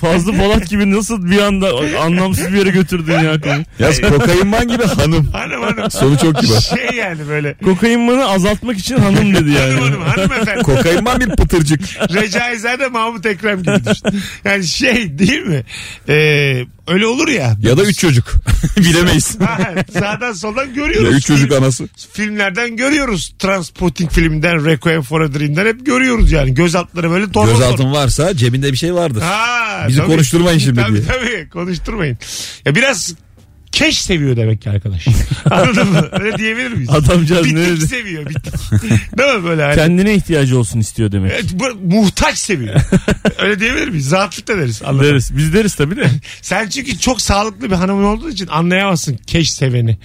[SPEAKER 4] Fazlı Polat gibi nasıl bir anda anlamsız bir yere götürdün ya konuyu.
[SPEAKER 3] Yaz kokainman gibi hanım.
[SPEAKER 2] Hanım hanım.
[SPEAKER 3] Sonu çok gibi.
[SPEAKER 2] şey yani böyle.
[SPEAKER 4] Kokainmanı azaltmak için hanım dedi
[SPEAKER 2] Hanım hanım
[SPEAKER 4] yani.
[SPEAKER 2] hanımefendi.
[SPEAKER 3] Kokainman bir pıtırcık.
[SPEAKER 2] Recaizade Mahmut Ekrem gibi düşün. Yani şey değil mi? Ee, öyle olur ya.
[SPEAKER 3] Ya da üç çocuk. Bilemeyiz.
[SPEAKER 2] Ha, Sağdan soldan
[SPEAKER 3] Ya
[SPEAKER 2] görüyoruz.
[SPEAKER 3] üç çocuk anası.
[SPEAKER 2] Filmlerden görüyoruz. Transporting filminden, Requiem for a Dream'den hep görüyoruz yani. Gözaltları böyle torba
[SPEAKER 3] Gözaltın varsa cebinde bir şey vardır.
[SPEAKER 2] Ha,
[SPEAKER 3] Bizi konuşturmayın şimdi
[SPEAKER 2] tabii,
[SPEAKER 3] diye.
[SPEAKER 2] Tabii konuşturmayın. Ya biraz keş seviyor demek ki arkadaş. Anladın mı? Öyle diyebilir miyiz?
[SPEAKER 4] Adamcağız ne
[SPEAKER 2] Bitik
[SPEAKER 4] dedi?
[SPEAKER 2] seviyor bitik. Değil mi böyle hani?
[SPEAKER 4] Kendine ihtiyacı olsun istiyor demek.
[SPEAKER 2] Evet, bu- muhtaç seviyor. Öyle diyebilir miyiz? Zatlık da deriz. Anladın mı?
[SPEAKER 4] Deriz. Biz deriz tabii de.
[SPEAKER 2] Sen çünkü çok sağlıklı bir hanımın olduğu için anlayamazsın keş seveni.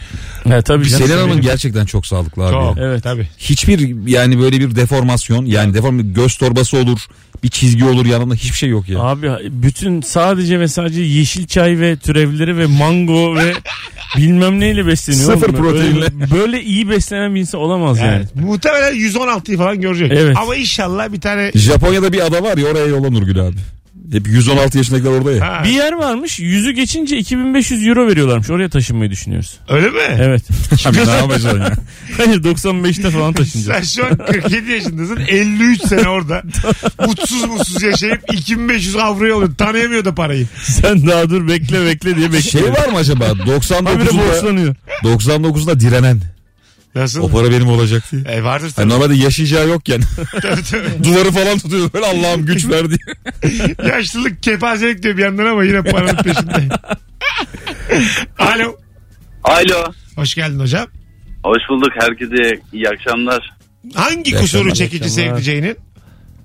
[SPEAKER 4] Ha, tabii canım.
[SPEAKER 3] Selen Hanım gerçekten çok sağlıklı abi.
[SPEAKER 2] Çok.
[SPEAKER 3] ya.
[SPEAKER 2] Evet.
[SPEAKER 4] Evet.
[SPEAKER 2] Tabii.
[SPEAKER 3] Hiçbir yani böyle bir deformasyon yani deform göz torbası olur bir çizgi olur yanında hiçbir şey yok ya.
[SPEAKER 4] Abi bütün sadece ve sadece yeşil çay ve türevleri ve mango ve bilmem neyle besleniyor.
[SPEAKER 3] Sıfır
[SPEAKER 4] oğlum. Böyle-
[SPEAKER 3] proteinle.
[SPEAKER 4] Böyle iyi beslenen bir insan olamaz yani.
[SPEAKER 2] Evet. Muhtemelen 116'yı falan görecek.
[SPEAKER 4] Evet.
[SPEAKER 2] Ama inşallah bir tane
[SPEAKER 3] Japonya'da bir ada var ya oraya yola Nurgül abi. Hep 116 yaşındakiler orada ya.
[SPEAKER 2] Ha,
[SPEAKER 4] Bir yer varmış yüzü geçince 2500 euro veriyorlarmış oraya taşınmayı düşünüyoruz.
[SPEAKER 2] öyle mi?
[SPEAKER 4] Evet.
[SPEAKER 3] Abi ne yapacaksın ya?
[SPEAKER 4] Hayır 95'te falan taşınacağız.
[SPEAKER 2] Sen şu an 47 yaşındasın. 53 sene orada. mutsuz mutsuz yaşayıp 2500 avroya oluyor. Tanıyamıyor da parayı.
[SPEAKER 4] Sen daha dur bekle bekle diye bekle.
[SPEAKER 3] Şey var mı acaba 99'da
[SPEAKER 4] borçlanıyor.
[SPEAKER 3] 99'da direnen
[SPEAKER 2] Nasıl?
[SPEAKER 3] o para benim olacak diye.
[SPEAKER 2] E vardır
[SPEAKER 3] Yani
[SPEAKER 2] tabii.
[SPEAKER 3] normalde yaşayacağı yokken
[SPEAKER 2] tabii, tabii.
[SPEAKER 3] duvarı falan tutuyor böyle Allah'ım güç ver diye.
[SPEAKER 2] Yaşlılık kepazelik diyor bir yandan ama yine paranın peşinde. Alo.
[SPEAKER 9] Alo.
[SPEAKER 2] Hoş geldin hocam.
[SPEAKER 9] Hoş bulduk herkese. iyi akşamlar.
[SPEAKER 2] Hangi
[SPEAKER 3] İyi
[SPEAKER 2] kusuru
[SPEAKER 3] akşamlar.
[SPEAKER 2] çekici
[SPEAKER 4] akşamlar.
[SPEAKER 2] sevdiceğinin?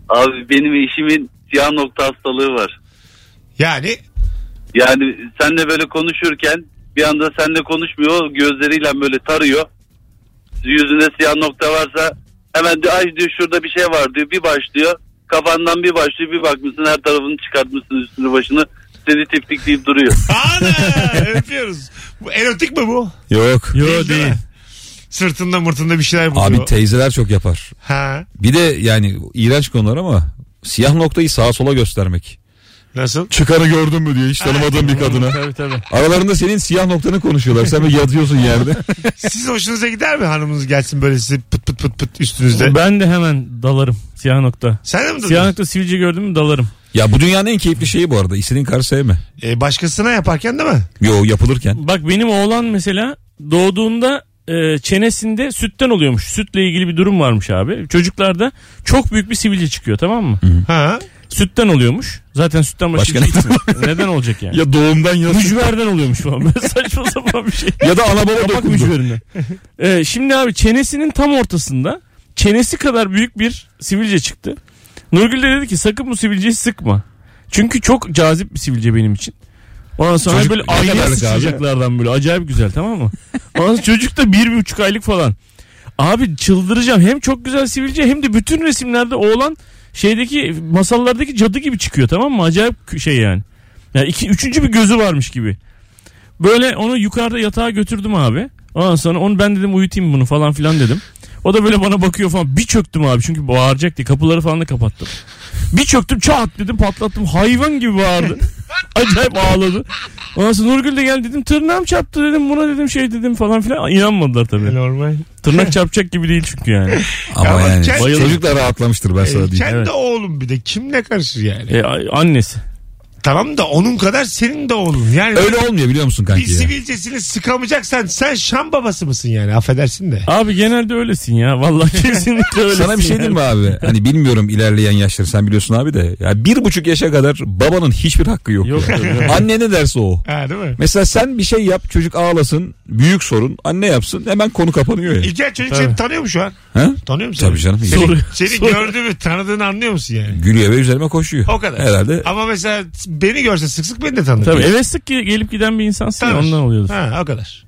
[SPEAKER 9] Abi benim eşimin siyah nokta hastalığı var.
[SPEAKER 2] Yani
[SPEAKER 9] Yani senle böyle konuşurken bir anda senle konuşmuyor. Gözleriyle böyle tarıyor. Yüzünde siyah nokta varsa hemen diyor ay diyor şurada bir şey var diyor. Bir başlıyor. Kafandan bir başlıyor. Bir bakmışsın her tarafını çıkartmışsın üstünü başını. Seni tiptikleyip duruyor.
[SPEAKER 2] ana öpüyoruz. Bu erotik mi bu?
[SPEAKER 3] Yok.
[SPEAKER 4] Yo değil.
[SPEAKER 2] mi? Sırtında mırtında bir şeyler buluyor.
[SPEAKER 3] Abi teyzeler çok yapar.
[SPEAKER 2] ha.
[SPEAKER 3] Bir de yani iğrenç konular ama siyah noktayı sağa sola göstermek.
[SPEAKER 2] Nasıl?
[SPEAKER 3] Çıkarı gördün mü diye hiç tanımadığın bir kadına.
[SPEAKER 4] Tabii tabii.
[SPEAKER 3] Aralarında senin siyah noktanı konuşuyorlar. Sen böyle yatıyorsun yerde.
[SPEAKER 2] Siz hoşunuza gider mi hanımınız gelsin böyle sizi pıt pıt pıt pıt üstünüzde?
[SPEAKER 4] Ben de hemen dalarım siyah nokta.
[SPEAKER 2] Sen de mi
[SPEAKER 4] Siyah
[SPEAKER 2] dedin?
[SPEAKER 4] nokta sivilce gördüm mü dalarım.
[SPEAKER 3] Ya bu dünyanın en keyifli şeyi bu arada. İstediğin karı sevme.
[SPEAKER 2] E, başkasına yaparken değil mi?
[SPEAKER 3] Yo yapılırken.
[SPEAKER 4] Bak benim oğlan mesela doğduğunda e, çenesinde sütten oluyormuş. Sütle ilgili bir durum varmış abi. Çocuklarda çok büyük bir sivilce çıkıyor tamam mı?
[SPEAKER 2] Ha.
[SPEAKER 4] Sütten oluyormuş. Zaten sütten başka,
[SPEAKER 3] Başka
[SPEAKER 4] bir şey çıkmıyor. Neden olacak yani?
[SPEAKER 3] Ya doğumdan ya.
[SPEAKER 4] Mücverden oluyormuş falan. Böyle saçma sapan bir şey.
[SPEAKER 3] ya da ana baba
[SPEAKER 4] Kapak
[SPEAKER 3] dokundu.
[SPEAKER 4] mücverine. Ee, şimdi abi çenesinin tam ortasında çenesi kadar büyük bir sivilce çıktı. Nurgül de dedi ki sakın bu sivilceyi sıkma. Çünkü çok cazip bir sivilce benim için. Ondan sonra
[SPEAKER 3] Çocuk
[SPEAKER 4] böyle
[SPEAKER 3] ne
[SPEAKER 4] aynaya
[SPEAKER 3] kadarlık abi?
[SPEAKER 4] sıçrayacaklardan böyle acayip güzel tamam mı? Ondan sonra çocuk da bir, bir buçuk aylık falan. Abi çıldıracağım. Hem çok güzel sivilce hem de bütün resimlerde oğlan şeydeki masallardaki cadı gibi çıkıyor tamam mı? Acayip kü- şey yani. Yani iki, üçüncü bir gözü varmış gibi. Böyle onu yukarıda yatağa götürdüm abi. Ondan sonra onu ben dedim uyutayım bunu falan filan dedim. O da böyle bana bakıyor falan. Bir çöktüm abi çünkü bağıracak diye kapıları falan da kapattım. Bir çöktüm çat dedim patlattım. Hayvan gibi bağırdı. Acayip ağladı. Ondan sonra Nurgül de gel dedim tırnağım çarptı dedim buna dedim şey dedim falan filan. İnanmadılar tabii.
[SPEAKER 2] Normal.
[SPEAKER 4] Tırnak çarpacak gibi değil çünkü yani.
[SPEAKER 3] Ama
[SPEAKER 2] Ya
[SPEAKER 3] yani
[SPEAKER 2] kendi-
[SPEAKER 3] çocuk da rahatlamıştır ben sana
[SPEAKER 2] E,
[SPEAKER 3] diyeyim.
[SPEAKER 2] kendi
[SPEAKER 4] Evet.
[SPEAKER 2] oğlum bir de kimle karışır yani?
[SPEAKER 4] E, a- annesi.
[SPEAKER 2] Tamam da onun kadar senin de oğlun. Yani
[SPEAKER 3] Öyle olmuyor biliyor musun
[SPEAKER 2] bir
[SPEAKER 3] kanki ya?
[SPEAKER 2] sivilcesini sıkamayacaksan sen şam babası mısın yani? Affedersin de.
[SPEAKER 4] Abi genelde öylesin ya. Vallahi kesinlikle öylesin.
[SPEAKER 3] Sana bir şey diyeyim mi
[SPEAKER 4] yani.
[SPEAKER 3] abi? Hani bilmiyorum ilerleyen yaşları sen biliyorsun abi de. Ya bir buçuk yaşa kadar babanın hiçbir hakkı yok.
[SPEAKER 4] Yok,
[SPEAKER 3] ya.
[SPEAKER 4] yok, yok.
[SPEAKER 3] Anne ne derse o.
[SPEAKER 2] Ha değil mi?
[SPEAKER 3] Mesela sen bir şey yap çocuk ağlasın büyük sorun anne yapsın hemen konu kapanıyor ya.
[SPEAKER 2] İlker çocuk
[SPEAKER 4] Tabii.
[SPEAKER 2] seni tanıyor mu şu an?
[SPEAKER 3] Ha?
[SPEAKER 2] Tanıyor musun?
[SPEAKER 3] Tabii canım.
[SPEAKER 2] Seni,
[SPEAKER 4] Soruyor.
[SPEAKER 2] seni gördü mü tanıdığını anlıyor musun yani?
[SPEAKER 3] Gülüyor ve üzerime koşuyor.
[SPEAKER 2] O kadar.
[SPEAKER 3] Herhalde
[SPEAKER 2] Ama mesela beni görse sık sık beni de tanır.
[SPEAKER 4] Tabii eve sık ge- gelip giden bir insansın ya,
[SPEAKER 2] Tanır.
[SPEAKER 4] ondan oluyordur.
[SPEAKER 2] Ha, o kadar.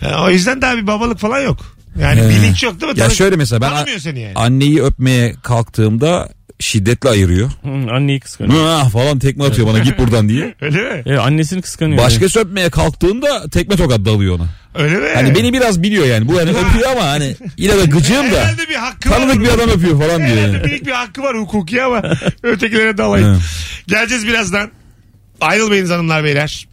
[SPEAKER 2] Ha, o yüzden daha bir babalık falan yok. Yani
[SPEAKER 3] Ee,
[SPEAKER 2] bilinç yok değil mi?
[SPEAKER 3] Ya
[SPEAKER 2] Tanı-
[SPEAKER 3] şöyle mesela ben
[SPEAKER 2] Tanımıyor seni yani.
[SPEAKER 3] anneyi öpmeye kalktığımda şiddetle ayırıyor.
[SPEAKER 4] Hı, anneyi kıskanıyor.
[SPEAKER 3] Ah falan tekme atıyor bana git buradan diye.
[SPEAKER 2] Öyle mi?
[SPEAKER 4] E, annesini kıskanıyor.
[SPEAKER 3] Başkası öpmeye kalktığında tekme tokat dalıyor ona.
[SPEAKER 2] Öyle mi?
[SPEAKER 3] Hani beni biraz biliyor yani. Bu hani öpüyor ama hani yine de gıcığım da.
[SPEAKER 2] Herhalde bir hakkı var.
[SPEAKER 3] Tanıdık bir adam öpüyor falan diyor.
[SPEAKER 2] Herhalde
[SPEAKER 3] yani.
[SPEAKER 2] büyük bir hakkı var hukuki ama ötekilere dalayın.
[SPEAKER 3] Evet.
[SPEAKER 2] Geleceğiz birazdan. Ayrılmayınız hanımlar beyler.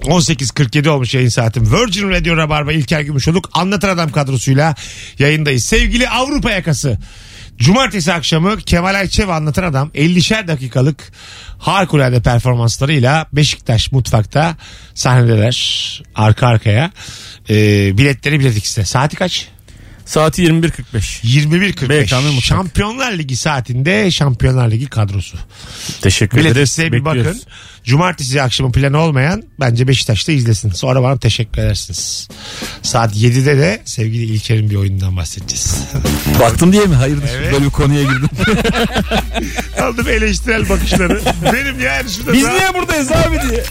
[SPEAKER 2] 18.47 olmuş yayın saatim. Virgin Radio Rabarba İlker Gümüşoluk Anlatır Adam kadrosuyla yayındayız. Sevgili Avrupa yakası. Cumartesi akşamı Kemal Ayçe ve Anlatır Adam 50'şer dakikalık harikulade performanslarıyla Beşiktaş mutfakta sahnedeler arka arkaya. Ee, biletleri bilet X'te. Saati kaç?
[SPEAKER 4] Saati 21.45. BKM
[SPEAKER 2] 21.45
[SPEAKER 4] Mutfak.
[SPEAKER 2] Şampiyonlar Ligi saatinde Şampiyonlar Ligi kadrosu.
[SPEAKER 4] Teşekkür
[SPEAKER 2] Bilet
[SPEAKER 4] ederiz.
[SPEAKER 2] size bir
[SPEAKER 4] Bekliyoruz.
[SPEAKER 2] bakın. Cumartesi akşamı planı olmayan bence Beşiktaş'ta izlesin. Sonra bana teşekkür edersiniz. Saat 7'de de sevgili İlker'in bir oyunundan bahsedeceğiz.
[SPEAKER 3] Baktım diye mi? Hayırdır? Böyle bir konuya girdim.
[SPEAKER 2] Aldım eleştirel bakışları. Benim yani şurada
[SPEAKER 3] Biz
[SPEAKER 2] daha-
[SPEAKER 3] niye buradayız abi diye.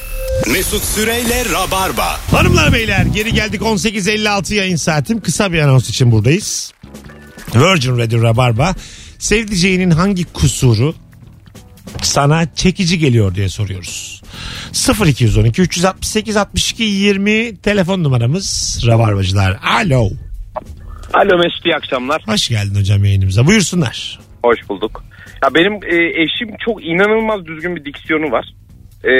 [SPEAKER 1] Mesut Süreyle Rabarba.
[SPEAKER 2] Hanımlar beyler geri geldik 18.56 yayın saatim. Kısa bir anons için buradayız. Virgin Radio Rabarba. Sevdiceğinin hangi kusuru sana çekici geliyor diye soruyoruz. 0212 368 62 20 telefon numaramız Rabarbacılar. Alo.
[SPEAKER 8] Alo Mesut iyi akşamlar.
[SPEAKER 2] Hoş geldin hocam yayınımıza. Buyursunlar.
[SPEAKER 8] Hoş bulduk. Ya benim e, eşim çok inanılmaz düzgün bir diksiyonu var. E,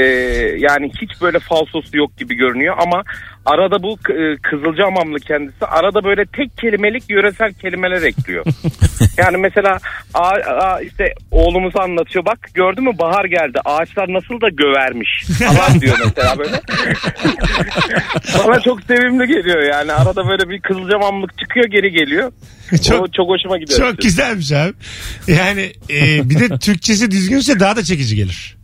[SPEAKER 8] yani hiç böyle falsosu yok gibi görünüyor ama arada bu e, Kızılcahamamlı kendisi arada böyle tek kelimelik yöresel kelimeler ekliyor. yani mesela a, a- işte oğlumuzu anlatıyor bak gördün mü bahar geldi ağaçlar nasıl da gövermiş falan diyor mesela böyle. Bana çok sevimli geliyor yani arada böyle bir Kızılcahamamlık çıkıyor geri geliyor.
[SPEAKER 2] Çok-
[SPEAKER 8] o çok hoşuma gidiyor.
[SPEAKER 2] Çok güzelmiş abi. Yani e, bir de Türkçesi düzgünse daha da çekici gelir.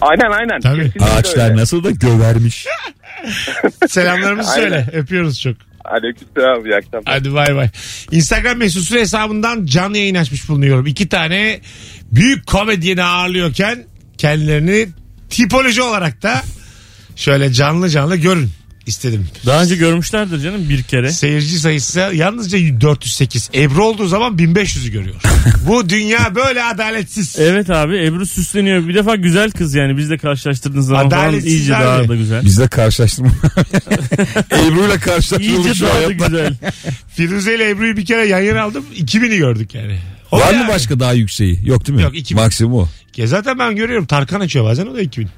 [SPEAKER 8] Aynen aynen.
[SPEAKER 2] Tabii.
[SPEAKER 8] Kesinlikle öyle.
[SPEAKER 3] Ağaçlar nasıl da gövermiş.
[SPEAKER 2] Selamlarımızı
[SPEAKER 8] Aynen.
[SPEAKER 2] söyle. Öpüyoruz çok.
[SPEAKER 8] Aleykümselam iyi akşamlar.
[SPEAKER 2] Hadi bay bay. Instagram mesut süre hesabından canlı yayın açmış bulunuyorum. İki tane büyük komedyeni ağırlıyorken kendilerini tipoloji olarak da şöyle canlı canlı görün istedim.
[SPEAKER 4] Daha önce görmüşlerdir canım bir kere.
[SPEAKER 2] Seyirci sayısı yalnızca 408. Ebru olduğu zaman 1500'ü görüyor. Bu dünya böyle adaletsiz.
[SPEAKER 3] E-
[SPEAKER 4] Evet abi Ebru süsleniyor. Bir defa güzel kız yani bizle karşılaştırdığınız zaman falan
[SPEAKER 2] Adaletsiz
[SPEAKER 4] iyice
[SPEAKER 2] abi.
[SPEAKER 4] daha da güzel.
[SPEAKER 3] Bizle karşılaştırma. Ebru'yla karşılaştırılmış
[SPEAKER 4] İyice
[SPEAKER 3] şu
[SPEAKER 4] daha da
[SPEAKER 3] hayatta.
[SPEAKER 4] güzel.
[SPEAKER 2] Firuze ile Ebru'yu bir kere yan yana aldım. 2000'i gördük yani. O
[SPEAKER 3] Var
[SPEAKER 2] yani.
[SPEAKER 3] mı başka daha yükseği? Yok değil mi?
[SPEAKER 2] Yok, iki bin.
[SPEAKER 3] Maksimum o.
[SPEAKER 2] Ya zaten ben görüyorum. Tarkan açıyor bazen o da 2000.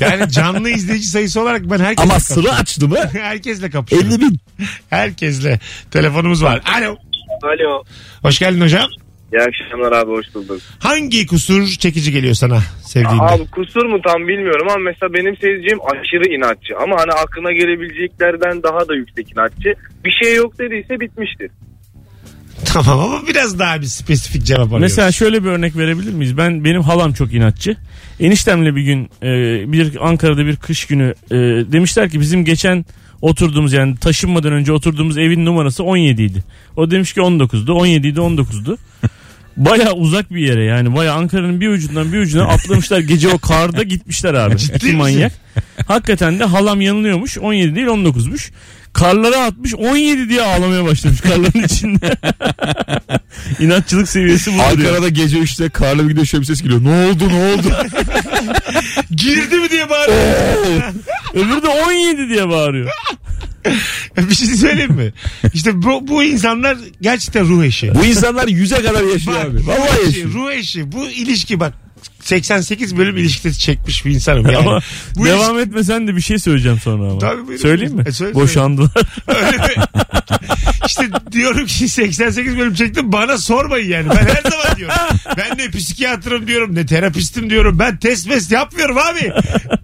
[SPEAKER 2] Yani canlı izleyici sayısı olarak ben herkesle
[SPEAKER 3] Ama
[SPEAKER 2] kapışıyorum.
[SPEAKER 3] sıra açtı mı?
[SPEAKER 2] Herkesle kapışıyorum.
[SPEAKER 3] 50 bin.
[SPEAKER 2] Herkesle. Telefonumuz var. Alo.
[SPEAKER 8] Alo.
[SPEAKER 2] Hoş geldin hocam.
[SPEAKER 10] İyi akşamlar abi hoş bulduk.
[SPEAKER 2] Hangi kusur çekici geliyor sana sevdiğinde?
[SPEAKER 10] Abi kusur mu tam bilmiyorum ama mesela benim seyircim aşırı inatçı. Ama hani aklına gelebileceklerden daha da yüksek inatçı. Bir şey yok dediyse bitmiştir.
[SPEAKER 2] Tamam ama biraz daha bir spesifik cevap arıyoruz.
[SPEAKER 4] Mesela şöyle bir örnek verebilir miyiz? Ben benim halam çok inatçı. Eniştemle bir gün e, bir Ankara'da bir kış günü e, demişler ki bizim geçen oturduğumuz yani taşınmadan önce oturduğumuz evin numarası 17 idi. O demiş ki 19'du. 17 idi 19'du. Baya uzak bir yere yani baya Ankara'nın bir ucundan bir ucuna atlamışlar gece o karda gitmişler abi. İki manyak. Hakikaten de halam yanılıyormuş 17 değil 19'muş. Karlara atmış 17 diye ağlamaya başlamış karların içinde. İnatçılık seviyesi bu.
[SPEAKER 3] Ankara'da gece 3'te karlı bir gidiyor şöyle bir ses geliyor. Ne oldu ne oldu?
[SPEAKER 2] Girdi mi diye bağırıyor.
[SPEAKER 4] Öbürü de 17 diye bağırıyor.
[SPEAKER 2] bir şey söyleyeyim mi? İşte bu, bu insanlar gerçekten ruh eşi.
[SPEAKER 3] Bu insanlar yüze kadar yaşıyor
[SPEAKER 2] Bak,
[SPEAKER 3] abi.
[SPEAKER 2] ruh
[SPEAKER 3] Vallahi
[SPEAKER 2] eşi,
[SPEAKER 3] yaşıyor.
[SPEAKER 2] ruh eşi. Bu ilişki bak 88 bölüm ilişkide çekmiş bir insanım yani.
[SPEAKER 4] ama
[SPEAKER 2] bu
[SPEAKER 4] devam etmesen de bir şey söyleyeceğim sonra ama.
[SPEAKER 2] Tabii, buyurun.
[SPEAKER 4] Söyleyeyim mi?
[SPEAKER 2] E, söyle,
[SPEAKER 4] Boşandılar.
[SPEAKER 2] işte diyorum ki 88 bölüm çektim bana sormayın yani. Ben her zaman diyorum. Ben ne psikiyatrım diyorum ne terapistim diyorum. Ben test mest yapmıyorum abi.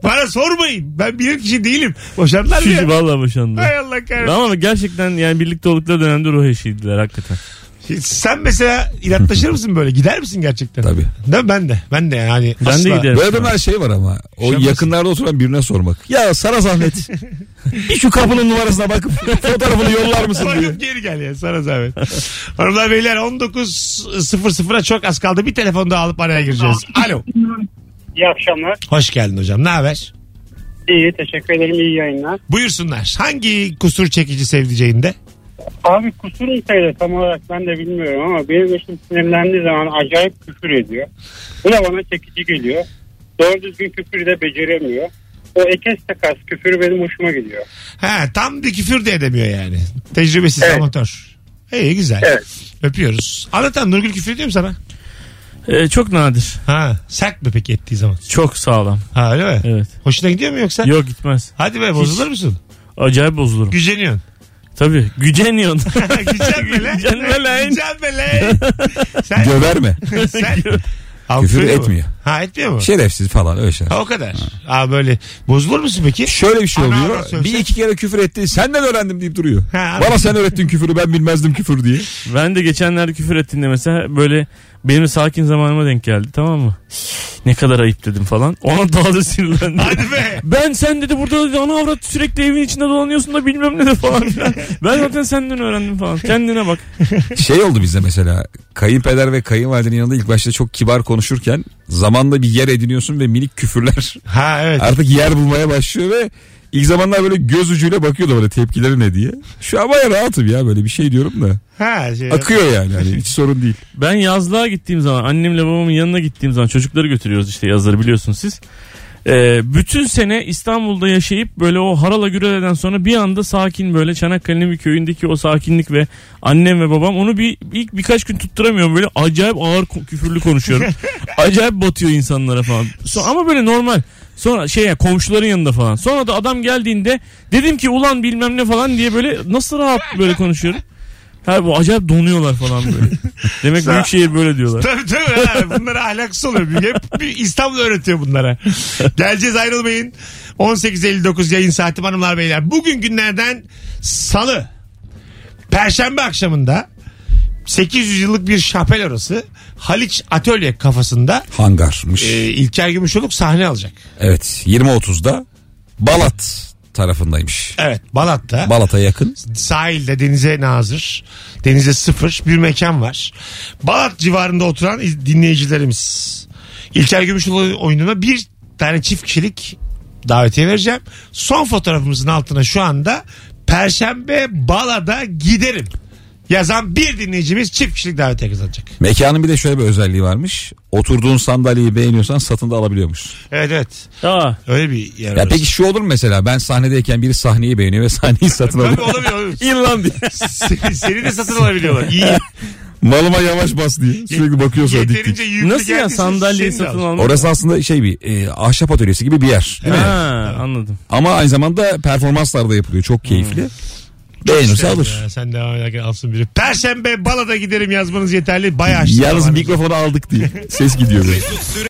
[SPEAKER 2] Bana sormayın. Ben bilir kişi değilim. Boşandılar mı
[SPEAKER 4] Çünkü
[SPEAKER 2] ya?
[SPEAKER 4] vallahi boşandılar.
[SPEAKER 2] Hay Allah kahretsin.
[SPEAKER 4] Ama gerçekten yani birlikte oldukları dönemde ruh eşiydiler hakikaten.
[SPEAKER 2] Sen mesela inatlaşır mısın böyle? Gider misin gerçekten?
[SPEAKER 3] Tabii.
[SPEAKER 2] Değil mi? Ben de. Ben de yani.
[SPEAKER 4] Ben de giderim.
[SPEAKER 3] Böyle adamlar şey var ama. O
[SPEAKER 2] Şakası.
[SPEAKER 3] yakınlarda oturan birine sormak. Ya sana zahmet. bir şu kapının numarasına bakıp fotoğrafını yollar mısın diye.
[SPEAKER 2] Bakıp geri gel ya sana zahmet. Hanımlar beyler 19.00'a çok az kaldı. Bir telefon daha alıp araya gireceğiz. Alo.
[SPEAKER 8] İyi akşamlar.
[SPEAKER 2] Hoş geldin hocam. Ne haber?
[SPEAKER 8] İyi teşekkür ederim. İyi yayınlar.
[SPEAKER 2] Buyursunlar. Hangi kusur çekici sevdiceğinde?
[SPEAKER 8] Abi kusur mu sayılır tam olarak ben de bilmiyorum ama benim eşim sinirlendiği zaman acayip küfür ediyor. Bu da bana çekici geliyor. Doğru düzgün küfürü de beceremiyor. O ekes takas küfürü benim hoşuma gidiyor.
[SPEAKER 2] Ha, tam bir küfür de edemiyor yani. Tecrübesiz
[SPEAKER 8] Evet.
[SPEAKER 2] amatör. İyi güzel.
[SPEAKER 8] Evet.
[SPEAKER 2] Öpüyoruz. Anlatan Nurgül küfür ediyor mu sana?
[SPEAKER 4] Ee, çok nadir.
[SPEAKER 2] Ha, sert mi peki ettiği zaman?
[SPEAKER 4] Çok sağlam.
[SPEAKER 2] Ha öyle mi?
[SPEAKER 4] Evet.
[SPEAKER 2] Hoşuna gidiyor mu yoksa?
[SPEAKER 4] Yok gitmez.
[SPEAKER 2] Hadi be bozulur musun?
[SPEAKER 4] Acayip bozulurum.
[SPEAKER 2] Güceniyorsun.
[SPEAKER 4] Tabii. Güceniyorsun.
[SPEAKER 2] Gücenme lan.
[SPEAKER 4] Gücenme lan.
[SPEAKER 2] Gücenme lan. Sen,
[SPEAKER 3] Göver mi?
[SPEAKER 2] sen...
[SPEAKER 3] Küfür
[SPEAKER 2] Alkışlıyor mu?
[SPEAKER 3] etmiyor.
[SPEAKER 2] Ha etmiyor
[SPEAKER 4] Şey-
[SPEAKER 2] mu?
[SPEAKER 3] Şerefsiz falan öyle şeyler.
[SPEAKER 2] Ha, o kadar. Aa böyle bozulur musun peki?
[SPEAKER 3] Şöyle bir şey
[SPEAKER 2] Ana
[SPEAKER 3] oluyor.
[SPEAKER 2] ana sövse.
[SPEAKER 3] bir iki kere küfür etti. Senden öğrendim deyip duruyor.
[SPEAKER 2] Ha,
[SPEAKER 3] Bana sen öğrettin küfürü ben bilmezdim küfür diye.
[SPEAKER 4] Ben de geçenlerde küfür ettiğinde mesela böyle benim de sakin zamanıma denk geldi tamam mı? Ne kadar ayıp dedim falan. Ona daha da sinirlendi.
[SPEAKER 2] Hadi be.
[SPEAKER 4] Ben sen dedi burada dedi, ana avrat sürekli evin içinde dolanıyorsun da bilmem ne de falan. filan. ben zaten senden öğrendim falan. Kendine bak.
[SPEAKER 3] Şey oldu bizde mesela kayınpeder ve kayınvalidenin yanında ilk başta çok kibar konuşurken zamanla bir yer ediniyorsun ve minik küfürler
[SPEAKER 2] Ha evet.
[SPEAKER 3] artık yer bulmaya başlıyor ve ilk zamanlar böyle göz ucuyla bakıyordu böyle tepkileri ne diye. Şu an baya rahatım ya böyle bir şey diyorum da
[SPEAKER 2] Ha şey.
[SPEAKER 3] akıyor yani hani hiç sorun değil.
[SPEAKER 4] Ben yazlığa gittiğim zaman annemle babamın yanına gittiğim zaman çocukları götürüyoruz işte yazları biliyorsunuz siz. Ee, bütün sene İstanbul'da yaşayıp böyle o harala güreleden sonra bir anda sakin böyle Çanakkale'nin bir köyündeki o sakinlik ve annem ve babam onu bir ilk birkaç gün tutturamıyorum böyle acayip ağır ko- küfürlü konuşuyorum. acayip batıyor insanlara falan. So- ama böyle normal. Sonra şey ya komşuların yanında falan. Sonra da adam geldiğinde dedim ki ulan bilmem ne falan diye böyle nasıl rahat böyle konuşuyorum. Ha bu acayip donuyorlar falan böyle. Demek büyük şehir böyle diyorlar.
[SPEAKER 2] Tabii tabii. Ha, bunlara ahlaksız oluyor. Bir- Hep bir İstanbul öğretiyor bunlara. Geleceğiz ayrılmayın. 18.59 yayın saati hanımlar beyler. Bugün günlerden salı. Perşembe akşamında 800 yıllık bir şapel orası Haliç Atölye kafasında
[SPEAKER 3] Hangarmış.
[SPEAKER 2] e, İlker Gümüşoluk sahne alacak.
[SPEAKER 3] Evet 20.30'da Balat tarafındaymış.
[SPEAKER 2] Evet Balat'ta.
[SPEAKER 3] Balat'a yakın.
[SPEAKER 2] sahilde denize nazır. Denize sıfır bir mekan var. Balat civarında oturan iz- dinleyicilerimiz. İlker Gümüşoğlu oyununa bir tane çift kişilik davetiye vereceğim. Son fotoğrafımızın altına şu anda Perşembe Bala'da giderim. Yazan bir dinleyicimiz çift kişilik davetiye kazanacak.
[SPEAKER 3] Mekanın bir de şöyle bir özelliği varmış. Oturduğun sandalyeyi beğeniyorsan satın da alabiliyormuş.
[SPEAKER 2] Evet evet.
[SPEAKER 4] Aa,
[SPEAKER 2] Öyle bir yer.
[SPEAKER 3] Ya
[SPEAKER 2] orası.
[SPEAKER 3] peki şu olur mu mesela ben sahnedeyken biri sahneyi beğeniyor ve sahneyi satın
[SPEAKER 2] Tabii
[SPEAKER 3] alıyor.
[SPEAKER 2] olabilir. olabilir.
[SPEAKER 4] İrlanda.
[SPEAKER 2] seni, seni de satın alabiliyorlar. İyi.
[SPEAKER 3] Malıma yavaş bas diye sürekli bakıyor sonra dik
[SPEAKER 2] Yeterince
[SPEAKER 3] dik.
[SPEAKER 2] yüklü
[SPEAKER 4] Nasıl ya
[SPEAKER 2] geldiyse
[SPEAKER 4] sandalyeyi
[SPEAKER 2] seni de
[SPEAKER 4] satın
[SPEAKER 2] al.
[SPEAKER 4] almak?
[SPEAKER 3] Orası aslında şey bir e, ahşap atölyesi gibi bir yer.
[SPEAKER 4] Ha, anladım.
[SPEAKER 3] Ama aynı zamanda performanslar da yapılıyor çok keyifli. Beğenirse alır.
[SPEAKER 2] Ya, sen devam ederken alsın biri. Perşembe balada giderim yazmanız yeterli. Bayağı açtı.
[SPEAKER 3] Yalnız
[SPEAKER 2] zamanımızı.
[SPEAKER 3] mikrofonu aldık diye. Ses gidiyor. böyle.
[SPEAKER 1] Mesut Süre